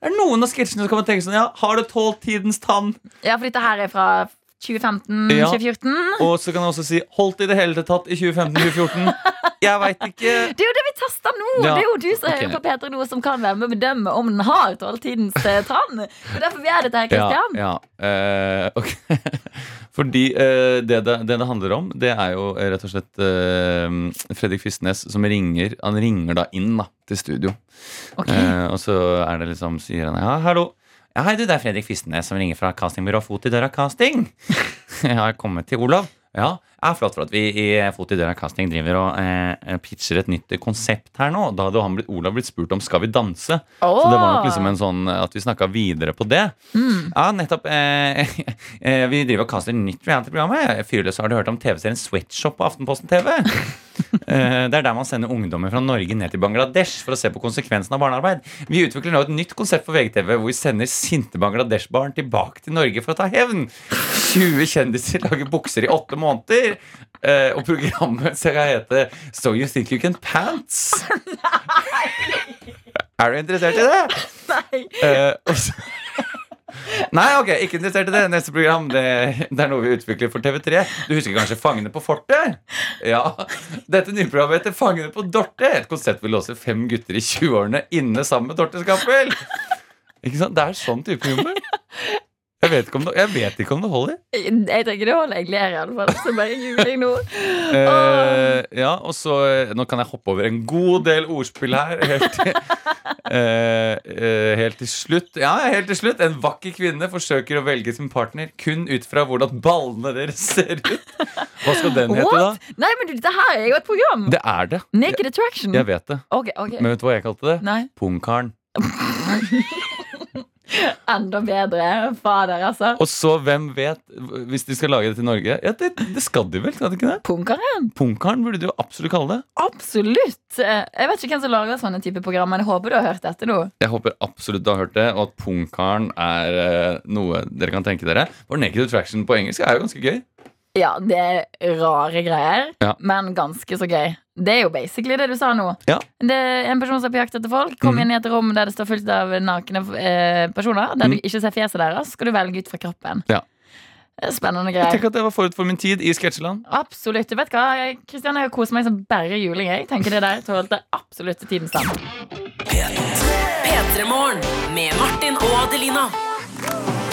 det er noen av sketsjene som kan man tenke sånn Ja, har du tålt tidens tann?
Ja, for dette her er fra 2015,
Ja.
2014.
Og så kan jeg også si holdt i det hele tatt i 2015-2014. Jeg veit ikke.
Det er jo det vi tester nå!
Ja,
Det er jo du som
ok.
hører på Peter nå, som kan være med og bedømme om den har tolvtidens eh, tann. Det er derfor vi er dette her, Kristian.
ja. eh, ok. (laughs) Fordi eh, det, det, det det handler om, det er jo eh, rett og slett eh, Fredrik Fistnes som ringer. Han ringer da inn da, til studio.
Ok.
Eh, og så er det liksom, sier han ja, hallo. Ja, hei du, det er Fredrik Fistnes som ringer fra castingbyrå Fot i døra casting. Jeg har kommet til Olav. Ja, det er flott for at vi i Fot i døra casting driver og eh, pitcher et nytt konsept her nå. Da hadde jo han blitt, Olav blitt spurt om Skal vi danse? Så det var nok liksom en sånn eh, at vi snakka videre på det. Ja, nettopp. Eh, (laughs) eh, vi driver og kaster nytt reality-program. her. Fyrløs, har du hørt om TV-serien Sweatshop på Aftenposten TV? Eh, Det er der man sender ungdommer fra Norge ned til Bangladesh for å se på konsekvensen av barnearbeid. Vi utvikler nå et nytt konsept for VGTV hvor vi sender sinte Bangladesh-barn tilbake til Norge for å ta hevn. 20 kjendiser lager bukser i åtte måneder, eh, og programmet (laughs) skal hete So You Think You Can Pants. Er du interessert i det?
Nei.
Eh, og så- (laughs) Nei, ok, ikke interessert i det. Neste program det, det er noe vi utvikler for TV3. Du husker kanskje Fangene på fortet? Ja. Dette nye programmet heter Fangene på Dorte. Et konsept hvor vi låser fem gutter i 20-årene inne sammen med Dorte Skappel. Ikke sant? Det er sånn type humor. Jeg vet ikke om det, jeg vet ikke om det holder.
Jeg tenker det holder. Jeg ler i alle fall. Så bare juling
(laughs)
nå.
Eh, ja, og så eh, Nå kan jeg hoppe over en god del ordspill her. Helt til, (laughs) eh, eh, helt til slutt. Ja, helt til slutt. En vakker kvinne forsøker å velge sin partner kun ut fra hvordan ballene deres ser ut. Hva skal den hete,
What?
da?
Nei, men du, dette her er jo et program!
Det er det.
Naked Attraction.
Jeg vet det.
Ok, ok.
Men vet du hva jeg kalte det?
Nei,
Pungkaren.
enda bedre. Fader, altså.
Og så, hvem vet, hvis de skal lage det til Norge Ja, Det, det skal de vel? skal de ikke det?
Punkere?
Pungkaren burde de jo absolutt kalle det.
Absolutt! Eh, Jeg vet ikke hvem som lager sånne type program, men jeg håper du har hørt dette nå.
Jeg håper absolutt du har hørt det, og at pungkaren er eh, noe dere kan tenke dere. For Naked Attraction på engelsk er jo ganske gøy.
Ja, det er rare greier,
Ja.
men ganske så gøy. Det er jo basically det du sa nå.
Ja.
Det er En person som er på jakt etter folk,
Mhm.
kom inn i et rom der det står fullt av nakne eh, personer,
Mhm.
der du ikke ser fjeset deres, skal du velge ut fra kroppen.
Ja.
Det er Spennende
Jeg
greier.
tenker at det var forut for min tid i Sketsjeland.
Absolutt. Du vet hva, jeg- Kristian, jeg har kost meg som bare juling. Jeg tenker det der tålte absolutt tidens tann.
P3morgen med Martin og Adelina.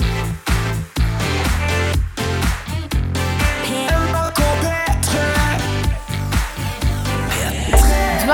Du